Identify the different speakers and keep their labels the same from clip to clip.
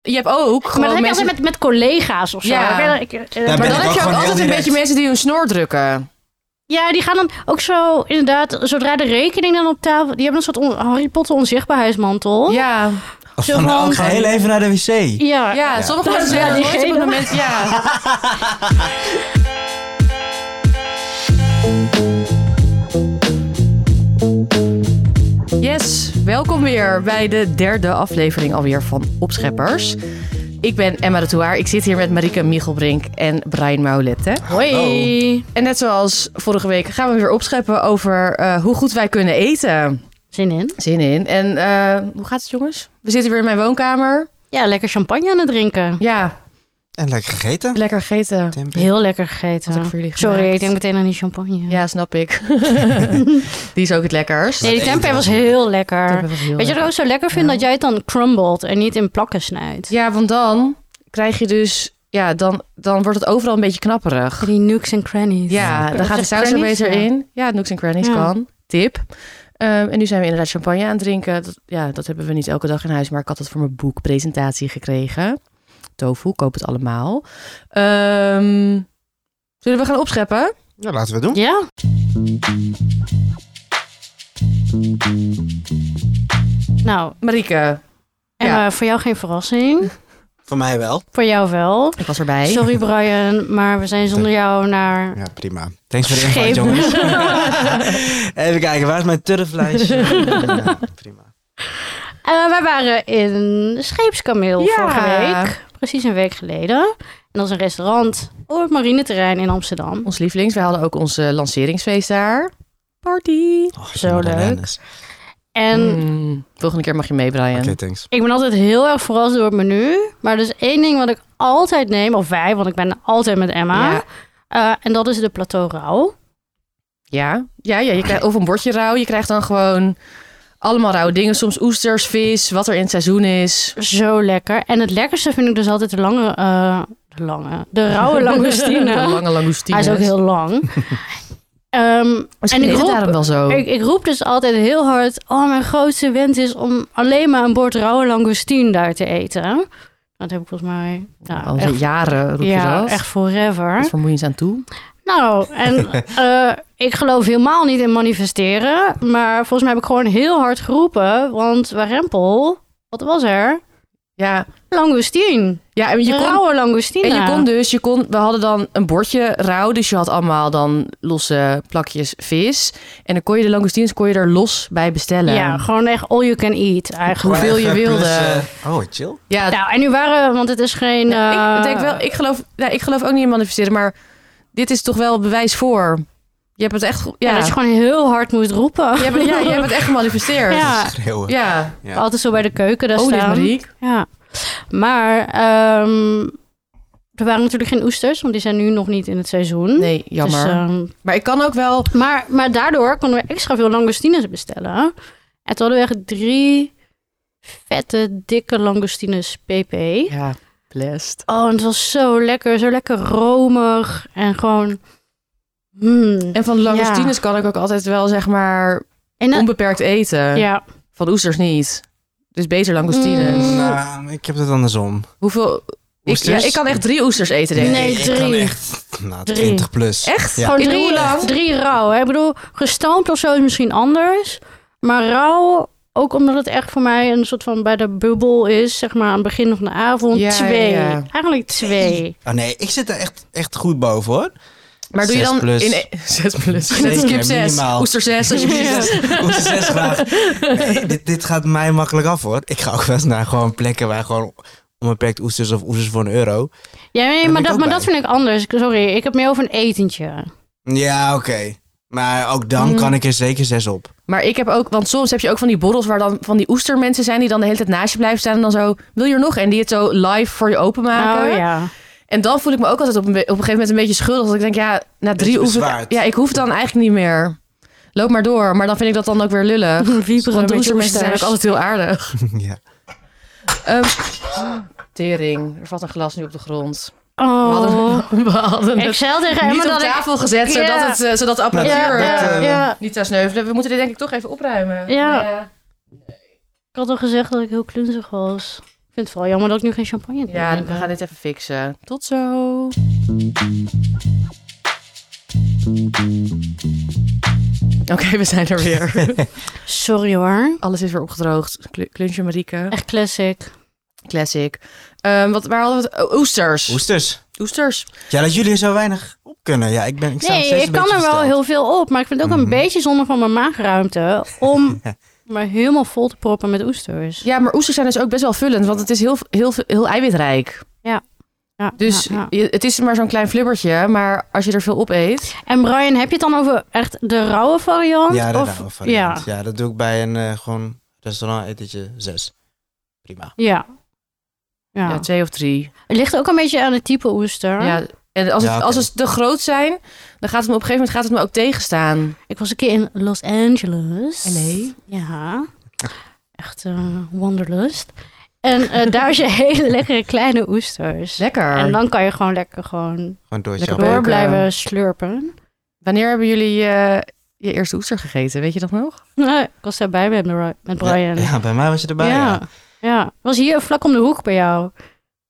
Speaker 1: Je hebt ook gewoon
Speaker 2: maar dat heb je
Speaker 1: mensen...
Speaker 2: altijd met, met collega's of zo.
Speaker 1: Ja.
Speaker 2: Ik weet dat- ik, eh,
Speaker 1: Maar
Speaker 2: maar
Speaker 1: dan
Speaker 2: dat-
Speaker 1: heb
Speaker 3: ook
Speaker 1: je ook
Speaker 3: gewoon
Speaker 1: altijd
Speaker 3: heel
Speaker 1: een
Speaker 3: direct.
Speaker 1: beetje mensen die hun snor drukken.
Speaker 2: ja, die gaan dan ook zo, inderdaad, zodra de rekening dan op tafel... Die hebben een soort on- oh, Harry Potter onzichtbaarheidsmantel.
Speaker 1: Oh. Ja,
Speaker 3: Of
Speaker 2: Zo
Speaker 3: van,
Speaker 2: gewoon-
Speaker 3: oh, ik ga heel even naar de wc.
Speaker 2: Ja.
Speaker 1: ja, sommige
Speaker 2: Dat
Speaker 1: mensen
Speaker 2: is wel
Speaker 1: zijn nooit op het
Speaker 2: diegene.
Speaker 1: moment... Ja. Yes, welkom weer bij de derde aflevering alweer van Opscheppers. Ik ben Emma de Touaar. Ik zit hier met Marike Michelbrink en Brian Maulette.
Speaker 2: Hoi.
Speaker 1: En net zoals vorige week gaan we weer opscheppen over eh, hoe goed wij kunnen eten.
Speaker 2: Zin in?
Speaker 1: Zin in. En eh, hoe gaat het jongens? We zitten weer in mijn woonkamer.
Speaker 2: Ja, lekker champagne aan het drinken.
Speaker 1: Ja,
Speaker 3: En lekker gegeten.
Speaker 1: lekker gegeten.
Speaker 3: Tempe.
Speaker 2: Heel lekker
Speaker 1: Wat heb ik
Speaker 2: gegeten.
Speaker 1: voor jullie
Speaker 2: Sorry,
Speaker 1: gemaakt?
Speaker 2: ik denk meteen aan die champagne.
Speaker 1: Ja, snap ik. Die is ook het lekkerst.
Speaker 2: Nee, die tempeh was heel lekker.
Speaker 1: Dat was heel
Speaker 2: Weet je wat
Speaker 1: lekker.
Speaker 2: ik ook zo lekker vind?
Speaker 1: Ja.
Speaker 2: Dat jij het dan crumbled en niet in plakken snijdt.
Speaker 1: Ja, want dan krijg je dus... Ja, dan, dan wordt het overal een beetje knapperig.
Speaker 2: Die nukes en crannies.
Speaker 1: Ja, dan gaat de
Speaker 2: Echt
Speaker 1: saus er
Speaker 2: crannies,
Speaker 1: beter
Speaker 2: ja.
Speaker 1: in. Ja, Nooks en Crannies
Speaker 2: Ja.
Speaker 1: kan. Tip. Ehm, en nu zijn we inderdaad champagne aan het drinken. Dat, ja, dat hebben we niet elke dag in huis, maar ik had het voor mijn boekpresentatie gekregen. Tofu, koop het allemaal. Ehm, zullen we gaan opscheppen?
Speaker 3: Ja, laten we het doen.
Speaker 2: Ja, nou,
Speaker 1: Marieke,
Speaker 2: en
Speaker 1: Ja.
Speaker 2: eh, voor jou geen verrassing.
Speaker 3: Voor mij wel.
Speaker 2: Voor jou wel.
Speaker 1: ik was erbij.
Speaker 2: Sorry Brian, maar we zijn zonder jou naar...
Speaker 3: Ja, prima. Thanks voor de
Speaker 2: Scheep.
Speaker 3: invite, jongens. even kijken, waar is mijn turflijstje? ja, prima.
Speaker 2: Eh, wij waren in Scheepskameel
Speaker 1: Ja.
Speaker 2: vorige week. Precies een week geleden. En dat is een restaurant op het marineterrein in Amsterdam.
Speaker 1: Ons lievelings, we hadden ook ons eh, lanceringsfeest daar. Party.
Speaker 3: Oh,
Speaker 2: Zo leuk.
Speaker 3: bananas.
Speaker 2: En
Speaker 1: Mm, volgende keer mag je mee, Brian.
Speaker 3: Oké, thanks.
Speaker 2: Ik ben altijd heel erg verrast door het menu. Maar er is één ding wat ik altijd neem, of wij, want ik ben altijd met Emma.
Speaker 1: Ja.
Speaker 2: Eh, en dat is de plateau rauw.
Speaker 1: Ja, ja, ja je krijgt, of een bordje rauw. Je krijgt dan gewoon allemaal rauwe dingen. Soms oesters, vis, wat er in het seizoen is.
Speaker 2: Zo lekker. En het lekkerste vind ik dus altijd de lange... eh, de lange... De rauwe langoustine.
Speaker 1: De lange langoustine.
Speaker 2: Hij is ook heel lang. Ehm,
Speaker 1: Misschien
Speaker 2: en ik
Speaker 1: is het
Speaker 2: roep,
Speaker 1: daarom wel zo.
Speaker 2: ik, ik roep dus altijd heel hard... Oh, mijn grootste wens is om alleen maar een bord rauwe langoustine daar te eten. Dat heb ik volgens mij... Nou,
Speaker 1: Al
Speaker 2: echt,
Speaker 1: jaren roep je
Speaker 2: ja,
Speaker 1: dat.
Speaker 2: echt forever.
Speaker 1: Dat is vermoeiend aan toe.
Speaker 2: Nou, en eh, ik geloof helemaal niet in manifesteren. Maar volgens mij heb ik gewoon heel hard geroepen. Want waarempel, wat was er?
Speaker 1: Ja,
Speaker 2: Langoustine.
Speaker 1: ja en, je
Speaker 2: Je
Speaker 1: kon,
Speaker 2: Ehm, rauwe langoustine.
Speaker 1: en je kon dus, je kon, we hadden dan een bordje rauw. Dus je had allemaal dan losse plakjes vis. En dan kon je de langoustines kon je er los bij bestellen.
Speaker 2: Ja, gewoon echt all you can eat eigenlijk.
Speaker 1: Hoeveel je
Speaker 3: Even
Speaker 1: wilde.
Speaker 3: plus, eh, oh, chill.
Speaker 1: ja
Speaker 2: Nou, en nu waren, want het is geen...
Speaker 1: Ja, ik
Speaker 2: eh,
Speaker 1: denk wel, ik geloof, ja, ik geloof ook niet in manifesteren, maar dit is toch wel bewijs voor. Je hebt het echt, ge-
Speaker 2: ja,
Speaker 1: ja,
Speaker 2: dat je gewoon heel hard moet roepen.
Speaker 1: je, hebt, ja, je hebt het echt gemanifesteerd. Ja,
Speaker 2: Ja,
Speaker 3: Schreeuwen.
Speaker 1: ja.
Speaker 3: Ja.
Speaker 2: altijd zo bij de keuken daar
Speaker 1: oh, dit
Speaker 2: staan.
Speaker 1: Mariek.
Speaker 2: Ja, maar ehm, er waren natuurlijk geen oesters, want die zijn nu nog niet in het seizoen.
Speaker 1: Nee, jammer.
Speaker 2: Dus, ehm,
Speaker 1: maar ik kan ook wel,
Speaker 2: Maar, maar daardoor konden we extra veel langoustines bestellen. En toen hadden we echt drie vette, dikke langoustines pp.
Speaker 1: ja, blessed.
Speaker 2: Oh, en het was zo lekker. Zo lekker romig. En gewoon... mm.
Speaker 1: En van langoustines kan ik ook altijd wel, zeg maar,
Speaker 2: En dat-
Speaker 1: onbeperkt eten.
Speaker 2: Nou. ja,
Speaker 1: Van oesters niet. Dus beter langoustines.
Speaker 2: Mm.
Speaker 3: Nou, ik heb het andersom.
Speaker 1: Hoeveel? Ik, ja,
Speaker 3: Oesters?
Speaker 1: ik kan echt drie oesters eten, denk ik.
Speaker 2: Nee,
Speaker 3: Ik kan
Speaker 2: drie.
Speaker 3: echt, nou,
Speaker 2: Drie.
Speaker 3: 20 plus.
Speaker 1: Echt?
Speaker 3: Ja.
Speaker 2: gewoon
Speaker 1: In
Speaker 2: drie,
Speaker 1: hoe lang?
Speaker 2: drie rauw. Hè? Ik bedoel, gestoomd of zo is misschien anders. Maar rauw, ook omdat het echt voor mij een soort van bij de bubbel is. Zeg maar aan het begin van de avond.
Speaker 1: Ja,
Speaker 2: twee.
Speaker 1: ja.
Speaker 2: Eigenlijk twee.
Speaker 3: Oh nee, ik zit er echt, echt goed boven hoor.
Speaker 1: Maar doe je
Speaker 3: Zes
Speaker 1: dan
Speaker 3: plus.
Speaker 1: in 6 plus?
Speaker 3: Zeker,
Speaker 1: Skip 6.
Speaker 3: minimaal.
Speaker 1: Oester 6 alsjeblieft.
Speaker 3: Oeh, zes graag. Nee, dit, dit gaat mij makkelijk af hoor. Ik ga ook wel eens naar gewoon plekken waar gewoon onbeperkt oesters of oesters voor een euro.
Speaker 2: Ja, nee,
Speaker 3: ben
Speaker 2: maar,
Speaker 3: ik
Speaker 2: dat,
Speaker 3: ook
Speaker 2: maar
Speaker 3: bij.
Speaker 2: dat vind ik anders. Ik- Sorry, ik heb meer over een etentje.
Speaker 3: Ja, oké. Maar ook dan
Speaker 1: Mm.
Speaker 3: kan ik er zeker zes op.
Speaker 1: Maar ik heb ook, want soms heb je ook van die borrels waar dan van die oestermensen zijn die dan de hele tijd naast je blijven staan en dan zo, wil je er nog? En die het zo live voor je openmaken.
Speaker 2: Oh ja.
Speaker 1: En dan voel ik me ook altijd op een, be- op een gegeven moment een beetje schuldig. Dat ik denk, ja, na drie oefen,
Speaker 3: bezwaard.
Speaker 1: ja, ik hoef het dan eigenlijk niet meer. Loop maar door. Maar dan vind ik dat dan ook weer lullig.
Speaker 2: Vieperen
Speaker 1: Want
Speaker 2: met
Speaker 1: oestermensen zijn ook
Speaker 2: oesters.
Speaker 1: altijd heel aardig.
Speaker 3: ja.
Speaker 1: Ehm, tering, er valt een glas nu op de grond. We
Speaker 2: Oh.
Speaker 1: hadden, we hadden
Speaker 2: Ik
Speaker 1: het
Speaker 2: zei tegen
Speaker 1: niet
Speaker 2: Emma
Speaker 1: op
Speaker 2: dat ik...
Speaker 1: tafel gezet,
Speaker 2: Ja.
Speaker 1: zodat, het, eh, zodat de
Speaker 2: Ja,
Speaker 1: apparatuur
Speaker 2: ja,
Speaker 1: het,
Speaker 2: ja,
Speaker 1: eh, niet zou sneuvelen. We moeten dit denk ik toch even opruimen.
Speaker 2: Ja. Ik had al gezegd dat ik heel klunzig was. Ik vind het vooral jammer dat ik nu geen champagne drink.
Speaker 1: Ja, we gaan dit even fixen. Tot zo. Oké, we zijn er weer.
Speaker 2: Sorry hoor.
Speaker 1: Alles is weer opgedroogd. Kl- Kluntje Marieke.
Speaker 2: Echt classic.
Speaker 1: Classic. Ehm, wat, waar hadden we het? oh, oesters.
Speaker 3: Oesters.
Speaker 1: Oesters.
Speaker 3: Ja, dat jullie er zo weinig op kunnen. Ja, ik ben ik sta nog
Speaker 2: Nee,
Speaker 3: steeds
Speaker 2: ik
Speaker 3: een
Speaker 2: kan er
Speaker 3: beetje
Speaker 2: wel
Speaker 3: versteld.
Speaker 2: heel veel op, maar ik vind het ook
Speaker 3: Mhm.
Speaker 2: een beetje zonde van mijn maagruimte om me helemaal vol te proppen met oesters.
Speaker 1: Ja, maar oesters zijn dus ook best wel vullend, want het is heel, heel, heel, eiwitrijk.
Speaker 2: Ja,
Speaker 1: Dus
Speaker 2: ja, ja.
Speaker 1: je- het is maar zo'n klein flibbertje, maar als je er veel op eet...
Speaker 2: En Brian, heb je het dan over echt de rauwe variant?
Speaker 3: Ja, dat
Speaker 2: Of-
Speaker 3: rauwe variant.
Speaker 2: Ja.
Speaker 3: Ja. dat doe ik bij een eh, gewoon restaurant etentje 6. Prima.
Speaker 2: Ja.
Speaker 1: Ja,
Speaker 2: Ja.
Speaker 1: twee of drie.
Speaker 2: Het ligt ook een beetje aan het type oester.
Speaker 1: Ja, en als,
Speaker 3: Ja,
Speaker 1: het,
Speaker 3: oké.
Speaker 1: als het te groot zijn, dan gaat het me op een gegeven moment gaat het me ook tegenstaan.
Speaker 2: Ik was een keer in Los Angeles.
Speaker 1: LA?
Speaker 2: Ja. Echt eh, wanderlust. En eh, daar is je hele lekkere kleine oesters.
Speaker 1: Lekker.
Speaker 2: En dan kan je gewoon lekker gewoon
Speaker 3: Gewoon door
Speaker 1: Lekker
Speaker 3: je
Speaker 2: door
Speaker 1: beuken.
Speaker 2: blijven slurpen.
Speaker 1: Wanneer hebben jullie eh, je eerste oester gegeten? Weet je dat nog?
Speaker 2: Nee, ik was daarbij met, Bri- met Brian.
Speaker 3: Ja, ja, bij mij was je erbij. Ja.
Speaker 2: ja. Ja. Was hier vlak om de hoek bij jou?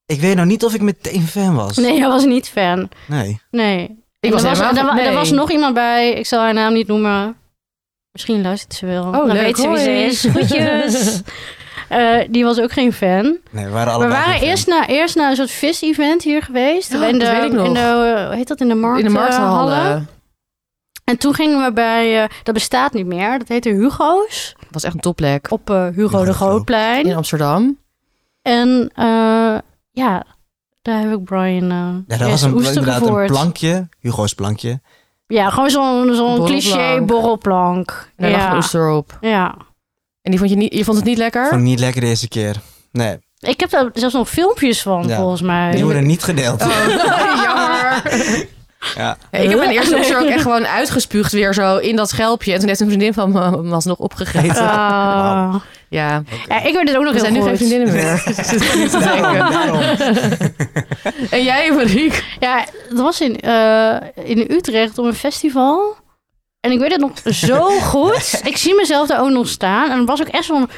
Speaker 3: Ik weet nou niet of ik meteen fan was.
Speaker 2: Nee, hij was niet fan.
Speaker 3: Nee.
Speaker 2: Nee,
Speaker 1: Ik
Speaker 2: En
Speaker 1: was
Speaker 2: er, was,
Speaker 1: helemaal-
Speaker 2: er wa- er
Speaker 1: nee.
Speaker 2: was nog iemand bij, ik zal haar naam niet noemen. Misschien luistert ze wel. dan
Speaker 1: Oh, leuk.
Speaker 2: Nou, weet ze wie ze
Speaker 1: Hoi.
Speaker 2: is. Groetjes. Eh, die was ook geen fan.
Speaker 3: Nee, we waren
Speaker 2: We
Speaker 3: allebei
Speaker 2: waren
Speaker 3: geen fan.
Speaker 2: eerst naar, eerst naar een soort vis-event hier geweest.
Speaker 1: Oh,
Speaker 2: in de,
Speaker 1: dat weet ik nog.
Speaker 2: In de, eh, hoe heet dat? In de markt,
Speaker 1: in de
Speaker 2: eh, hallen.
Speaker 1: markthallen.
Speaker 2: En toen gingen we bij, eh, dat bestaat niet meer, dat heette Hugo's.
Speaker 1: Dat was echt een topplek.
Speaker 2: Op eh, Hugo
Speaker 3: Hugo.
Speaker 2: de Grootplein.
Speaker 1: In Amsterdam.
Speaker 2: En eh, ja, daar heb ik Brian eh
Speaker 3: Ja,
Speaker 2: de
Speaker 3: dat was
Speaker 2: eerste
Speaker 3: een,
Speaker 2: oester
Speaker 3: inderdaad
Speaker 2: gevoerd.
Speaker 3: een plankje. Hugo's plankje.
Speaker 2: Ja, gewoon zo'n zo'n
Speaker 1: Borrelplank.
Speaker 2: cliché borrelplank.
Speaker 1: En daar lag een
Speaker 2: Ja.
Speaker 1: oester op.
Speaker 2: ja.
Speaker 1: En die vond je, niet, je vond het niet lekker?
Speaker 3: Vond ik niet lekker de eerste keer. Nee,
Speaker 2: Ik heb daar zelfs nog filmpjes van,
Speaker 3: Ja.
Speaker 2: volgens mij.
Speaker 3: die worden niet
Speaker 2: Ah.
Speaker 3: gedeeld.
Speaker 1: Oh, jammer.
Speaker 3: Ja.
Speaker 1: Ja, ik heb mijn eerste oester ook echt gewoon uitgespuugd weer zo in dat schelpje. En toen heeft een vriendin van me hem alsnog opgegeten.
Speaker 2: Ah.
Speaker 3: Wauw.
Speaker 1: Ja,
Speaker 2: Ja, ik weet het ook nog
Speaker 1: we zijn
Speaker 2: heel
Speaker 1: nu
Speaker 2: goed.
Speaker 1: geen vriendinnen meer. Dus het is niet te denken.
Speaker 3: Daarom.
Speaker 1: En jij, Marieke?
Speaker 2: Ja, dat was in, eh, in Utrecht op een festival. En ik weet het nog zo goed. Ik zie mezelf daar ook nog staan. En het was ook echt zo'n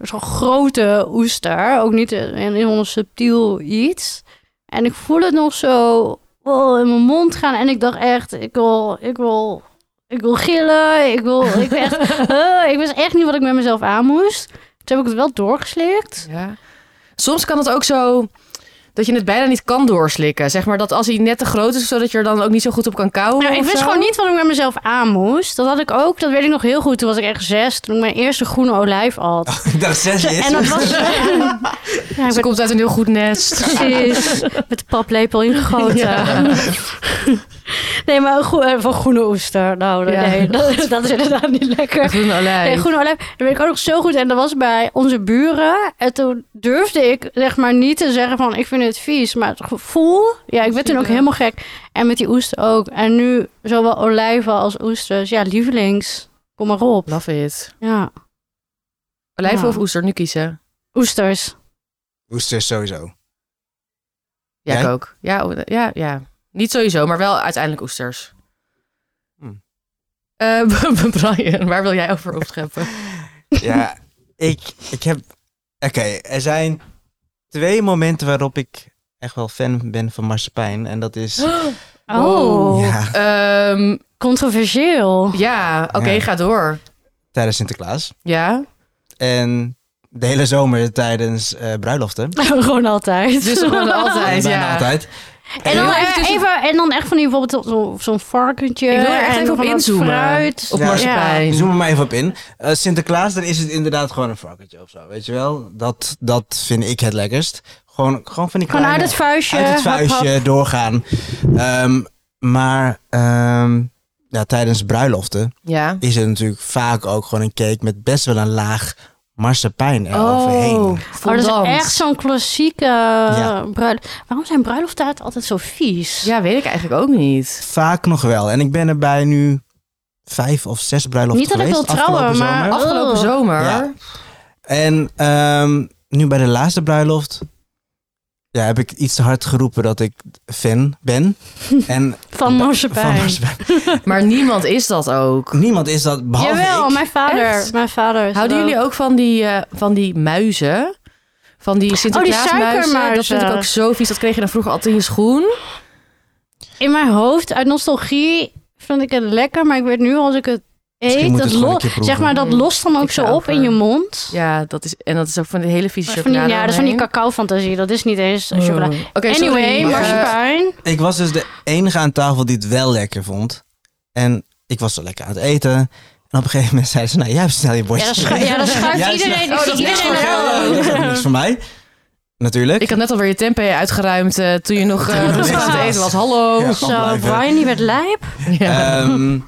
Speaker 2: zo'n grote oester. Ook niet een een heel subtiel iets. En ik voel het nog zo oh, in mijn mond gaan. En ik dacht echt, ik wil, ik wil, ik wil gillen. Ik wil, ik, wil echt, eh, ik wist echt niet wat ik met mezelf aan moest. Toen heb ik het wel doorgeslikt.
Speaker 1: Ja. Soms kan het ook zo dat je het bijna niet kan doorslikken. Zeg maar dat als hij net te groot is, zodat je er dan ook niet zo goed op kan kauwen.
Speaker 2: Nou, ik
Speaker 1: of
Speaker 2: wist
Speaker 1: zo.
Speaker 2: gewoon niet wat ik met mezelf aan moest. Dat had ik ook, dat weet ik nog heel goed. Toen was ik echt zes, toen ik mijn eerste groene olijf at.
Speaker 3: Ik dacht zes
Speaker 2: en
Speaker 3: is.
Speaker 2: dat was... ja, ik
Speaker 1: Ze
Speaker 2: werd
Speaker 1: komt uit een heel goed nest.
Speaker 2: precies met de paplepel ingegoten.
Speaker 1: Ja.
Speaker 2: nee, maar een goe- eh, van groene oester. Nou,
Speaker 1: Ja.
Speaker 2: nee, dat, dat is inderdaad niet
Speaker 1: Een
Speaker 2: lekker.
Speaker 1: groene olijf.
Speaker 2: Nee, groene olijf, dat weet ik ook nog zo goed. En dat was bij onze buren. En toen durfde ik zeg maar niet te zeggen van ik vind het vies. Maar het gevoel, ja, ik werd toen ook helemaal gek. En met die oester ook. En nu zowel olijven als oesters. Ja, lievelings. Kom maar op.
Speaker 1: Love it.
Speaker 2: Ja,
Speaker 1: Olijf
Speaker 2: Ja.
Speaker 1: of oester, nu kiezen.
Speaker 2: oesters.
Speaker 3: Oesters sowieso.
Speaker 1: Ja,
Speaker 3: Jij?
Speaker 1: ik ook. Ja, o- ja, ja. Niet sowieso, maar wel uiteindelijk oesters.
Speaker 3: Hmm.
Speaker 1: Eh, Brian, waar wil jij over opscheppen?
Speaker 3: Ja, ik, ik heb... Oké, er zijn twee momenten waarop ik echt wel fan ben van marsepein. En dat is...
Speaker 1: Oh.
Speaker 2: Oh,
Speaker 3: Ja,
Speaker 1: Ehm,
Speaker 2: controversieel.
Speaker 1: ja, oké,
Speaker 3: Ja.
Speaker 1: ga door.
Speaker 3: tijdens Sinterklaas.
Speaker 1: Ja,
Speaker 3: En de hele zomer tijdens eh, bruiloften.
Speaker 2: Gewoon altijd.
Speaker 1: dus gewoon altijd,
Speaker 3: Bijna
Speaker 1: ja.
Speaker 3: altijd.
Speaker 2: En dan,
Speaker 1: Heel
Speaker 2: eh,
Speaker 1: even tussen-
Speaker 2: even, en dan echt van die bijvoorbeeld zo- zo'n varkentje.
Speaker 1: Ik wil er echt
Speaker 2: en
Speaker 1: even op
Speaker 2: van dat
Speaker 1: inzoomen.
Speaker 2: Fruit.
Speaker 1: Op
Speaker 3: Ja.
Speaker 1: marsepein.
Speaker 3: Zoom er maar even op in. Eh, Sinterklaas, dan is het inderdaad gewoon een varkentje of zo. Weet je wel? Dat, dat vind ik het lekkerst. Gewoon, gewoon van die
Speaker 2: Gewoon uit
Speaker 3: kleine-
Speaker 2: het vuistje.
Speaker 3: uit het
Speaker 2: hap, hap.
Speaker 3: vuistje doorgaan. Ehm, maar ehm, ja, tijdens bruiloften
Speaker 1: Ja.
Speaker 3: is er natuurlijk vaak ook gewoon een cake met best wel een laag marsepein eroverheen.
Speaker 1: Oh,
Speaker 2: Oh, dat
Speaker 1: fondant.
Speaker 2: is echt zo'n klassieke
Speaker 3: Ja.
Speaker 2: bruiloft. Waarom zijn bruiloften altijd- altijd zo vies?
Speaker 1: Ja, weet ik eigenlijk ook niet.
Speaker 3: Vaak nog wel. En ik ben er bij nu vijf of zes bruiloften
Speaker 2: Niet dat ik
Speaker 3: geweest
Speaker 2: wil trouwen,
Speaker 3: afgelopen
Speaker 2: maar-
Speaker 3: zomer.
Speaker 2: Oh.
Speaker 1: Afgelopen zomer.
Speaker 3: Ja. En ehm, nu bij de laatste bruiloft ja, heb ik iets te hard geroepen dat ik fan ben.
Speaker 2: Van
Speaker 3: En van
Speaker 2: marsepein.
Speaker 3: marsepein.
Speaker 1: Maar niemand is dat ook.
Speaker 3: Niemand is dat, behalve
Speaker 2: Jawel,
Speaker 3: ik.
Speaker 2: mijn vader.
Speaker 1: Echt?
Speaker 2: Mijn vader is
Speaker 1: Houden
Speaker 2: wel-
Speaker 1: jullie ook van die, eh, van die muizen? Van die Sinterklaasmuizen. dat vind ik
Speaker 2: Oh, suikermuizen.
Speaker 1: ook zo vies. Dat kreeg je dan vroeger altijd in je schoen.
Speaker 2: In mijn hoofd, uit nostalgie, vond ik het lekker. Maar ik weet nu, als ik het
Speaker 3: Misschien
Speaker 2: eet,
Speaker 3: moet je
Speaker 2: dat,
Speaker 3: het gewoon een
Speaker 2: lo-
Speaker 3: keer proeven.
Speaker 2: zeg maar, dat lost dan ook
Speaker 1: Mm. Ik
Speaker 2: zo
Speaker 1: zou
Speaker 2: op
Speaker 1: voor-
Speaker 2: in je mond.
Speaker 1: Ja, dat is, en dat is ook van die hele vieze
Speaker 2: Dat is van die,
Speaker 1: chocolade.
Speaker 2: ja, dat is van die
Speaker 1: omheen.
Speaker 2: cacao-fantasie. Dat is niet eens chocolade.
Speaker 1: Oh. Oké, sorry.
Speaker 2: Anyway,
Speaker 1: Maar,
Speaker 2: marsepein.
Speaker 3: Ik was dus de enige aan tafel die het wel lekker vond. En ik was zo lekker aan het eten. En op een gegeven moment zei ze, nou, jij bestel je
Speaker 2: Ja, dat
Speaker 3: bordje.
Speaker 2: schuift ja, dat schuift
Speaker 3: Jij
Speaker 2: iedereen.
Speaker 1: schuift-
Speaker 2: ik zie
Speaker 1: oh, dat is
Speaker 2: iedereen
Speaker 1: niks voor
Speaker 2: wel.
Speaker 1: jou.
Speaker 3: Dat is ook niks voor mij. Natuurlijk.
Speaker 1: Ik had net alweer je tempeh uitgeruimd eh, toen je nog eh, rustig aan het eten was. Hallo.
Speaker 3: Ja. kan
Speaker 2: Zo,
Speaker 3: blijven.
Speaker 2: Brian, die werd lijp.
Speaker 1: Ja.
Speaker 3: Ehm,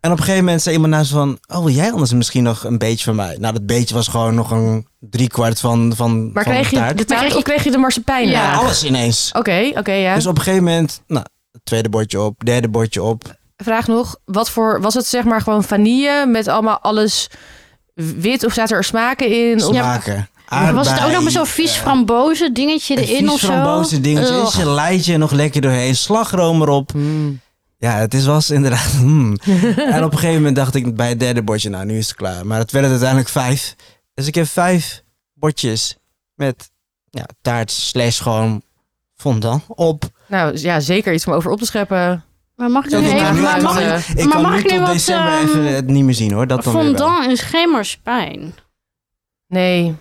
Speaker 3: en op een gegeven moment zei iemand naast me van... Oh, wil jij anders misschien nog een beetje van mij? Nou, dat beetje was gewoon nog een driekwart van, van,
Speaker 1: maar
Speaker 3: van
Speaker 1: kreeg
Speaker 3: de
Speaker 1: je
Speaker 3: taart.
Speaker 1: de
Speaker 2: Maar
Speaker 1: taart
Speaker 2: kreeg
Speaker 1: of kreeg je de marsepein?
Speaker 2: Ja. Oh,
Speaker 1: laag?
Speaker 3: Alles ineens.
Speaker 1: Oké, oké, ja.
Speaker 3: Dus op een gegeven moment... Nou, tweede bordje op, derde bordje op.
Speaker 1: Vraag nog, wat voor, was het zeg maar gewoon vanille met allemaal alles wit of zaten er smaken in? Of-
Speaker 3: Smaken.
Speaker 2: Maar was het ook nog
Speaker 3: Aardbei,
Speaker 2: met zo'n vies
Speaker 3: eh,
Speaker 2: frambozen dingetje
Speaker 3: een
Speaker 2: erin
Speaker 3: vies
Speaker 2: of zo?
Speaker 3: frambozen dingetje.
Speaker 2: Ugh.
Speaker 3: Geleidje er nog lekker doorheen. Slagroom erop.
Speaker 1: Mm.
Speaker 3: Ja, het is, was inderdaad... hmm. en op een gegeven moment dacht ik bij het derde bordje... Nou, nu is het klaar. Maar het werden uiteindelijk vijf. Dus ik heb vijf bordjes met ja, taart slash gewoon fondant op.
Speaker 1: Nou ja, zeker iets om over op te scheppen.
Speaker 2: Maar mag ik
Speaker 3: Zo
Speaker 2: nu
Speaker 3: die
Speaker 1: Zo'n
Speaker 2: even...
Speaker 3: taart.
Speaker 2: Maar
Speaker 1: taart,
Speaker 2: mag,
Speaker 3: ik-
Speaker 1: eh,
Speaker 3: Ik
Speaker 2: Maar
Speaker 3: kan
Speaker 2: mag
Speaker 3: nu
Speaker 2: ik nu
Speaker 3: tot
Speaker 2: wat,
Speaker 3: december
Speaker 2: ehm,
Speaker 3: even het niet meer zien hoor. Dat dan weer wel.
Speaker 2: fondant is geen marsepein.
Speaker 1: Nee,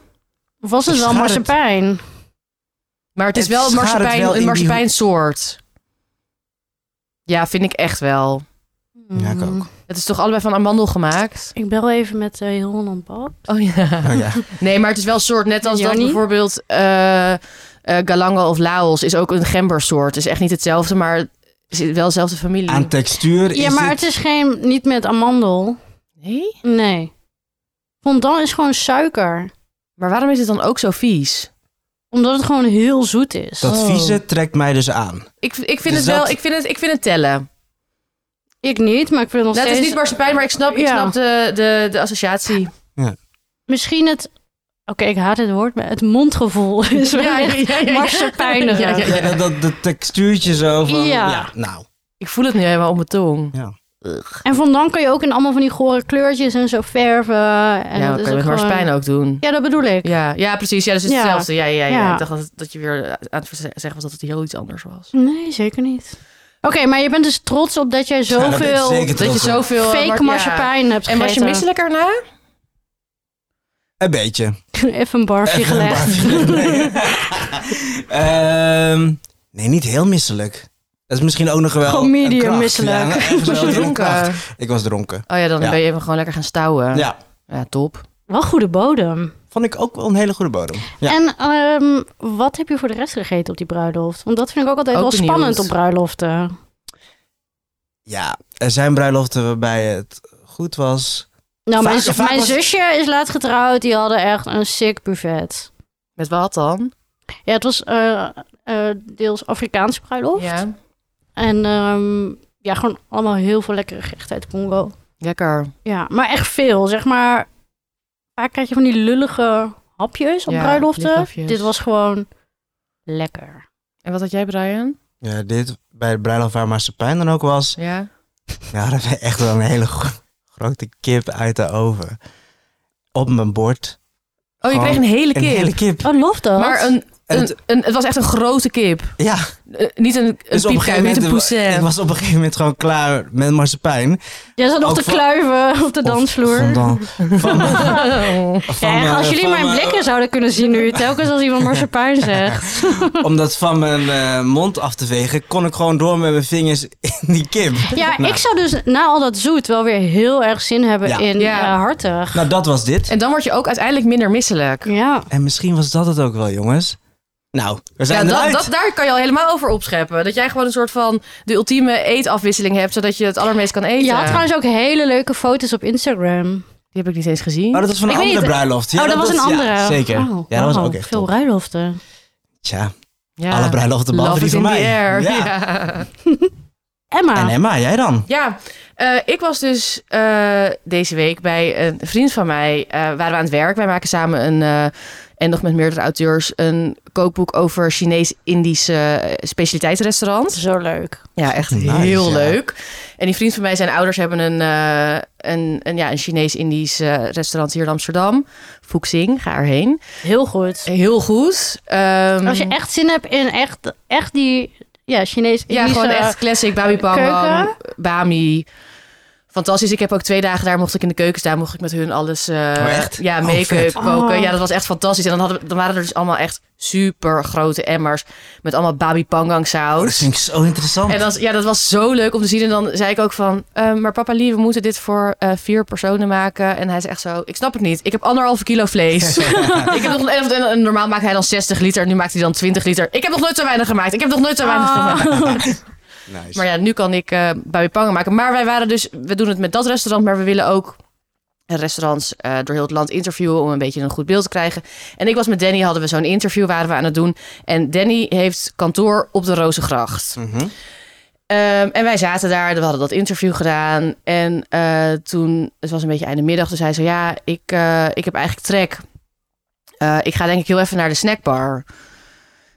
Speaker 2: Of was het
Speaker 3: Ik
Speaker 2: wel
Speaker 3: schaar het.
Speaker 2: marsepein?
Speaker 1: maar het is
Speaker 3: Het
Speaker 1: wel een
Speaker 3: schaadt het
Speaker 1: marsepein,
Speaker 3: wel in
Speaker 1: een
Speaker 3: die
Speaker 1: marsepeinsoort. Ja, vind ik echt wel.
Speaker 3: Ja, ik ook.
Speaker 1: Het is toch allebei van amandel gemaakt?
Speaker 2: Hmm. Ik bel even met eh Jeroen Pap.
Speaker 1: Oh ja.
Speaker 3: Oh, ja.
Speaker 1: Nee, maar het is wel een soort, net als dat
Speaker 2: Johnny?
Speaker 1: bijvoorbeeld eh eh, Galanga of Laos is ook een gembersoort. Het is echt niet hetzelfde, maar het is wel dezelfde familie.
Speaker 3: Aan textuur
Speaker 2: Ja,
Speaker 3: is
Speaker 2: maar
Speaker 3: dit-
Speaker 2: het is geen... Niet met amandel.
Speaker 1: Nee?
Speaker 2: Nee. Fondant is gewoon suiker.
Speaker 1: Maar waarom is het dan ook zo vies?
Speaker 2: Omdat het gewoon heel zoet is.
Speaker 3: Dat
Speaker 1: Oh.
Speaker 3: vieze trekt mij dus aan.
Speaker 1: Ik, ik vind
Speaker 3: Dus
Speaker 1: het wel,
Speaker 3: dat-
Speaker 1: ik vind het, ik vind het tellen.
Speaker 2: Ik niet, maar ik wil nog
Speaker 1: Dat
Speaker 2: steeds...
Speaker 1: is niet marsepein, maar ik snap, ik
Speaker 2: Ja.
Speaker 1: snap de, de, de associatie.
Speaker 2: Misschien het... Oké, ik haat het woord, maar het mondgevoel is wel echt marsepijniger.
Speaker 1: Ja, ja,
Speaker 3: Ja,
Speaker 1: ja.
Speaker 3: dat, dat, dat textuurtje zo van...
Speaker 2: Ja.
Speaker 3: Ja. nou.
Speaker 1: Ik voel het nu helemaal op mijn tong.
Speaker 3: Ja.
Speaker 2: En vandaan kan je ook in allemaal van die gore kleurtjes en zo verven. En
Speaker 1: ja,
Speaker 2: dat
Speaker 1: dat kan je
Speaker 2: is
Speaker 1: met
Speaker 2: ook gewoon-
Speaker 1: marsepein ook doen.
Speaker 2: Ja, dat bedoel ik.
Speaker 1: Ja, ja precies. Ja, dus
Speaker 2: Ja.
Speaker 1: hetzelfde. Ja, ja, ja,
Speaker 2: Ja.
Speaker 1: Ik dacht dat, dat je weer aan het zeggen was dat het heel iets anders was.
Speaker 2: Nee, zeker niet. Oké, maar je bent dus trots op dat jij
Speaker 3: Ja, daar ben ik
Speaker 2: zoveel
Speaker 3: zeker
Speaker 1: Dat je
Speaker 3: trots op.
Speaker 1: zoveel... eh, mar-
Speaker 2: fake
Speaker 1: ja.
Speaker 2: marsepein hebt
Speaker 1: En was je
Speaker 2: gegeten.
Speaker 1: misselijk erna?
Speaker 3: Een beetje.
Speaker 2: Even een barfje
Speaker 3: Even een
Speaker 2: gelegd.
Speaker 3: barfje. Nee. Ehm, nee, niet heel misselijk. Dat is misschien ook nog wel
Speaker 2: Gewoon
Speaker 3: een
Speaker 2: medium
Speaker 3: kracht.
Speaker 2: misselijk.
Speaker 3: Ja, ergens
Speaker 1: Was
Speaker 3: wel
Speaker 1: je
Speaker 3: een kracht.
Speaker 1: dronken?
Speaker 3: Ik was dronken.
Speaker 1: Oh ja, dan
Speaker 3: Ja.
Speaker 1: ben je even gewoon lekker gaan stouwen.
Speaker 3: Ja.
Speaker 1: Ja, top.
Speaker 2: Wel goede bodem.
Speaker 3: Vond ik ook wel een hele goede bodem. Ja.
Speaker 2: En ehm, wat heb je voor de rest gegeten op die bruiloft? Want dat vind ik ook altijd
Speaker 1: Ook dus.
Speaker 2: wel
Speaker 1: benieuwd.
Speaker 2: spannend op bruiloften.
Speaker 3: Ja, er zijn bruiloften vaarbij het goed was.
Speaker 2: Nou, mijn,
Speaker 3: Vaak- vaak
Speaker 2: mijn
Speaker 3: was-
Speaker 2: zusje is laat getrouwd. Die hadden echt een sick buffet.
Speaker 1: Met wat dan?
Speaker 2: Ja, het was eh, eh, deels Afrikaanse bruiloft.
Speaker 1: Ja.
Speaker 2: En ehm, ja, gewoon allemaal heel veel lekkere gerechten uit Congo.
Speaker 1: Lekker.
Speaker 2: Ja, maar echt veel. Zeg maar, vaak krijg je van die lullige hapjes op
Speaker 1: Ja,
Speaker 2: bruiloften.
Speaker 1: lipafjes.
Speaker 2: Dit was gewoon lekker.
Speaker 1: En wat had jij, Brian?
Speaker 3: Ja, dit bij de bruiloft waar Marsepein dan ook was.
Speaker 1: Ja.
Speaker 3: Ja, dat was echt wel een hele gro- grote kip uit de oven. Op mijn bord.
Speaker 1: Oh, je
Speaker 3: Gewoon
Speaker 1: kreeg een hele
Speaker 3: Een
Speaker 1: kip.
Speaker 3: hele kip.
Speaker 2: Oh, lof dat.
Speaker 1: Maar een,
Speaker 3: En
Speaker 1: een,
Speaker 3: het-
Speaker 1: een- het was echt een grote kip.
Speaker 3: Ja,
Speaker 1: Eh, niet een, een
Speaker 3: dus op een
Speaker 1: piepkuit,
Speaker 3: gegeven
Speaker 1: niet
Speaker 3: moment...
Speaker 1: een
Speaker 3: Ik
Speaker 1: poussin.
Speaker 3: was op een gegeven moment gewoon klaar met Marsepein.
Speaker 2: Jij zat nog
Speaker 3: ook
Speaker 2: te
Speaker 3: van-
Speaker 2: kluiven op de dansvloer.
Speaker 3: Van dan, van, van
Speaker 2: Ja,
Speaker 3: mijn-
Speaker 2: als jullie
Speaker 3: van eh,
Speaker 2: mijn blikken zouden kunnen zien nu, telkens als iemand marsepein zegt.
Speaker 3: Om dat van mijn eh, mond af te vegen, kon ik gewoon door met mijn vingers in die kip.
Speaker 2: Ja,
Speaker 3: Nou.
Speaker 2: ik zou dus na al dat zoet wel weer heel erg zin hebben
Speaker 3: Ja.
Speaker 2: in
Speaker 1: Ja.
Speaker 2: eh, hartig.
Speaker 3: Nou, dat was dit.
Speaker 1: En dan word je ook uiteindelijk minder misselijk.
Speaker 2: Ja.
Speaker 3: En misschien was dat het ook wel, jongens. Nou, we
Speaker 1: Ja,
Speaker 3: zijn
Speaker 1: dat,
Speaker 3: eruit.
Speaker 1: dat, daar kan je al helemaal over opscheppen. Dat jij gewoon een soort van de ultieme eetafwisseling hebt, zodat je het allermeest kan eten.
Speaker 2: Je had trouwens ook hele leuke foto's op Instagram.
Speaker 1: Die heb ik niet eens gezien.
Speaker 3: Maar Oh, dat was van een
Speaker 2: Ik weet
Speaker 3: andere
Speaker 2: niet.
Speaker 3: bruiloft. Ja,
Speaker 2: oh, dat, was een andere.
Speaker 3: Ja, zeker.
Speaker 2: Oh,
Speaker 3: ja, dat was
Speaker 2: wauw,
Speaker 3: ook echt
Speaker 2: Veel
Speaker 3: top.
Speaker 2: ruiloften.
Speaker 3: Tja,
Speaker 1: ja.
Speaker 3: alle bruiloften behalve
Speaker 1: Love
Speaker 3: die
Speaker 1: is
Speaker 3: van
Speaker 1: in the
Speaker 3: mij.
Speaker 1: air.
Speaker 3: Ja.
Speaker 1: Ja.
Speaker 2: Emma. Oh,
Speaker 3: En Emma, jij dan?
Speaker 1: Ja, Eh, ik was dus eh, deze week bij een vriend van mij. eh, waren we aan het werk. Wij maken samen een. eh, en nog met meerdere auteurs. een kookboek over Chinees-Indische eh, specialiteitsrestaurants.
Speaker 2: Zo leuk.
Speaker 1: Ja, echt
Speaker 3: Nice,
Speaker 1: heel
Speaker 3: ja.
Speaker 1: leuk. En die vriend van mij, zijn ouders hebben een, eh, een, een, ja, een Chinees-Indisch eh, restaurant hier in Amsterdam. Fuxing, ga erheen.
Speaker 2: Heel goed.
Speaker 1: Heel goed. Ehm,
Speaker 2: Als je echt zin hebt in echt, echt die ja, Chinees...
Speaker 1: ja, gewoon echt classic Babi Pangang,
Speaker 2: eh, keuken?
Speaker 1: Bami. Fantastisch. Ik heb ook twee dagen daar mocht ik in de keuken staan, mocht ik met hun alles eh,
Speaker 3: echt?
Speaker 1: ja,
Speaker 3: Oh,
Speaker 1: make-up
Speaker 3: vet.
Speaker 1: koken.
Speaker 2: Oh.
Speaker 1: Ja, dat was echt fantastisch. En dan, hadden, we- dan waren er dus allemaal echt super grote emmers met allemaal Babi Pangang
Speaker 3: Oh,
Speaker 1: saus.
Speaker 3: dat vind ik zo interessant.
Speaker 1: En dat, ja, dat was zo leuk om te zien. En dan zei ik ook van... ehm, maar papa lief, we moeten dit voor eh, vier personen maken. En hij is echt zo... Ik snap het niet. Ik heb anderhalve kilo vlees. ik heb nog, en, en- en normaal maakt hij dan 60 liter. En nu maakt hij dan 20 liter. Ik heb nog nooit zo weinig gemaakt. Ik heb nog nooit zo
Speaker 2: Oh.
Speaker 1: weinig gemaakt.
Speaker 3: Nice.
Speaker 1: Maar ja, nu kan ik eh bij pangen maken. Maar wij waren dus... We doen het met dat restaurant. Maar we willen ook restaurants eh, door heel het land interviewen... om een beetje een goed beeld te krijgen. En ik was met Danny, hadden we zo'n interview waren we aan het doen. En Danny heeft kantoor op de Rozengracht.
Speaker 3: Mhm.
Speaker 1: Ehm, en wij zaten daar, we hadden dat interview gedaan. En eh, toen, het was een beetje einde middag, dus hij zei: Ja, ik, eh, ik heb eigenlijk trek. Eh, ik ga denk ik heel even naar de snackbar.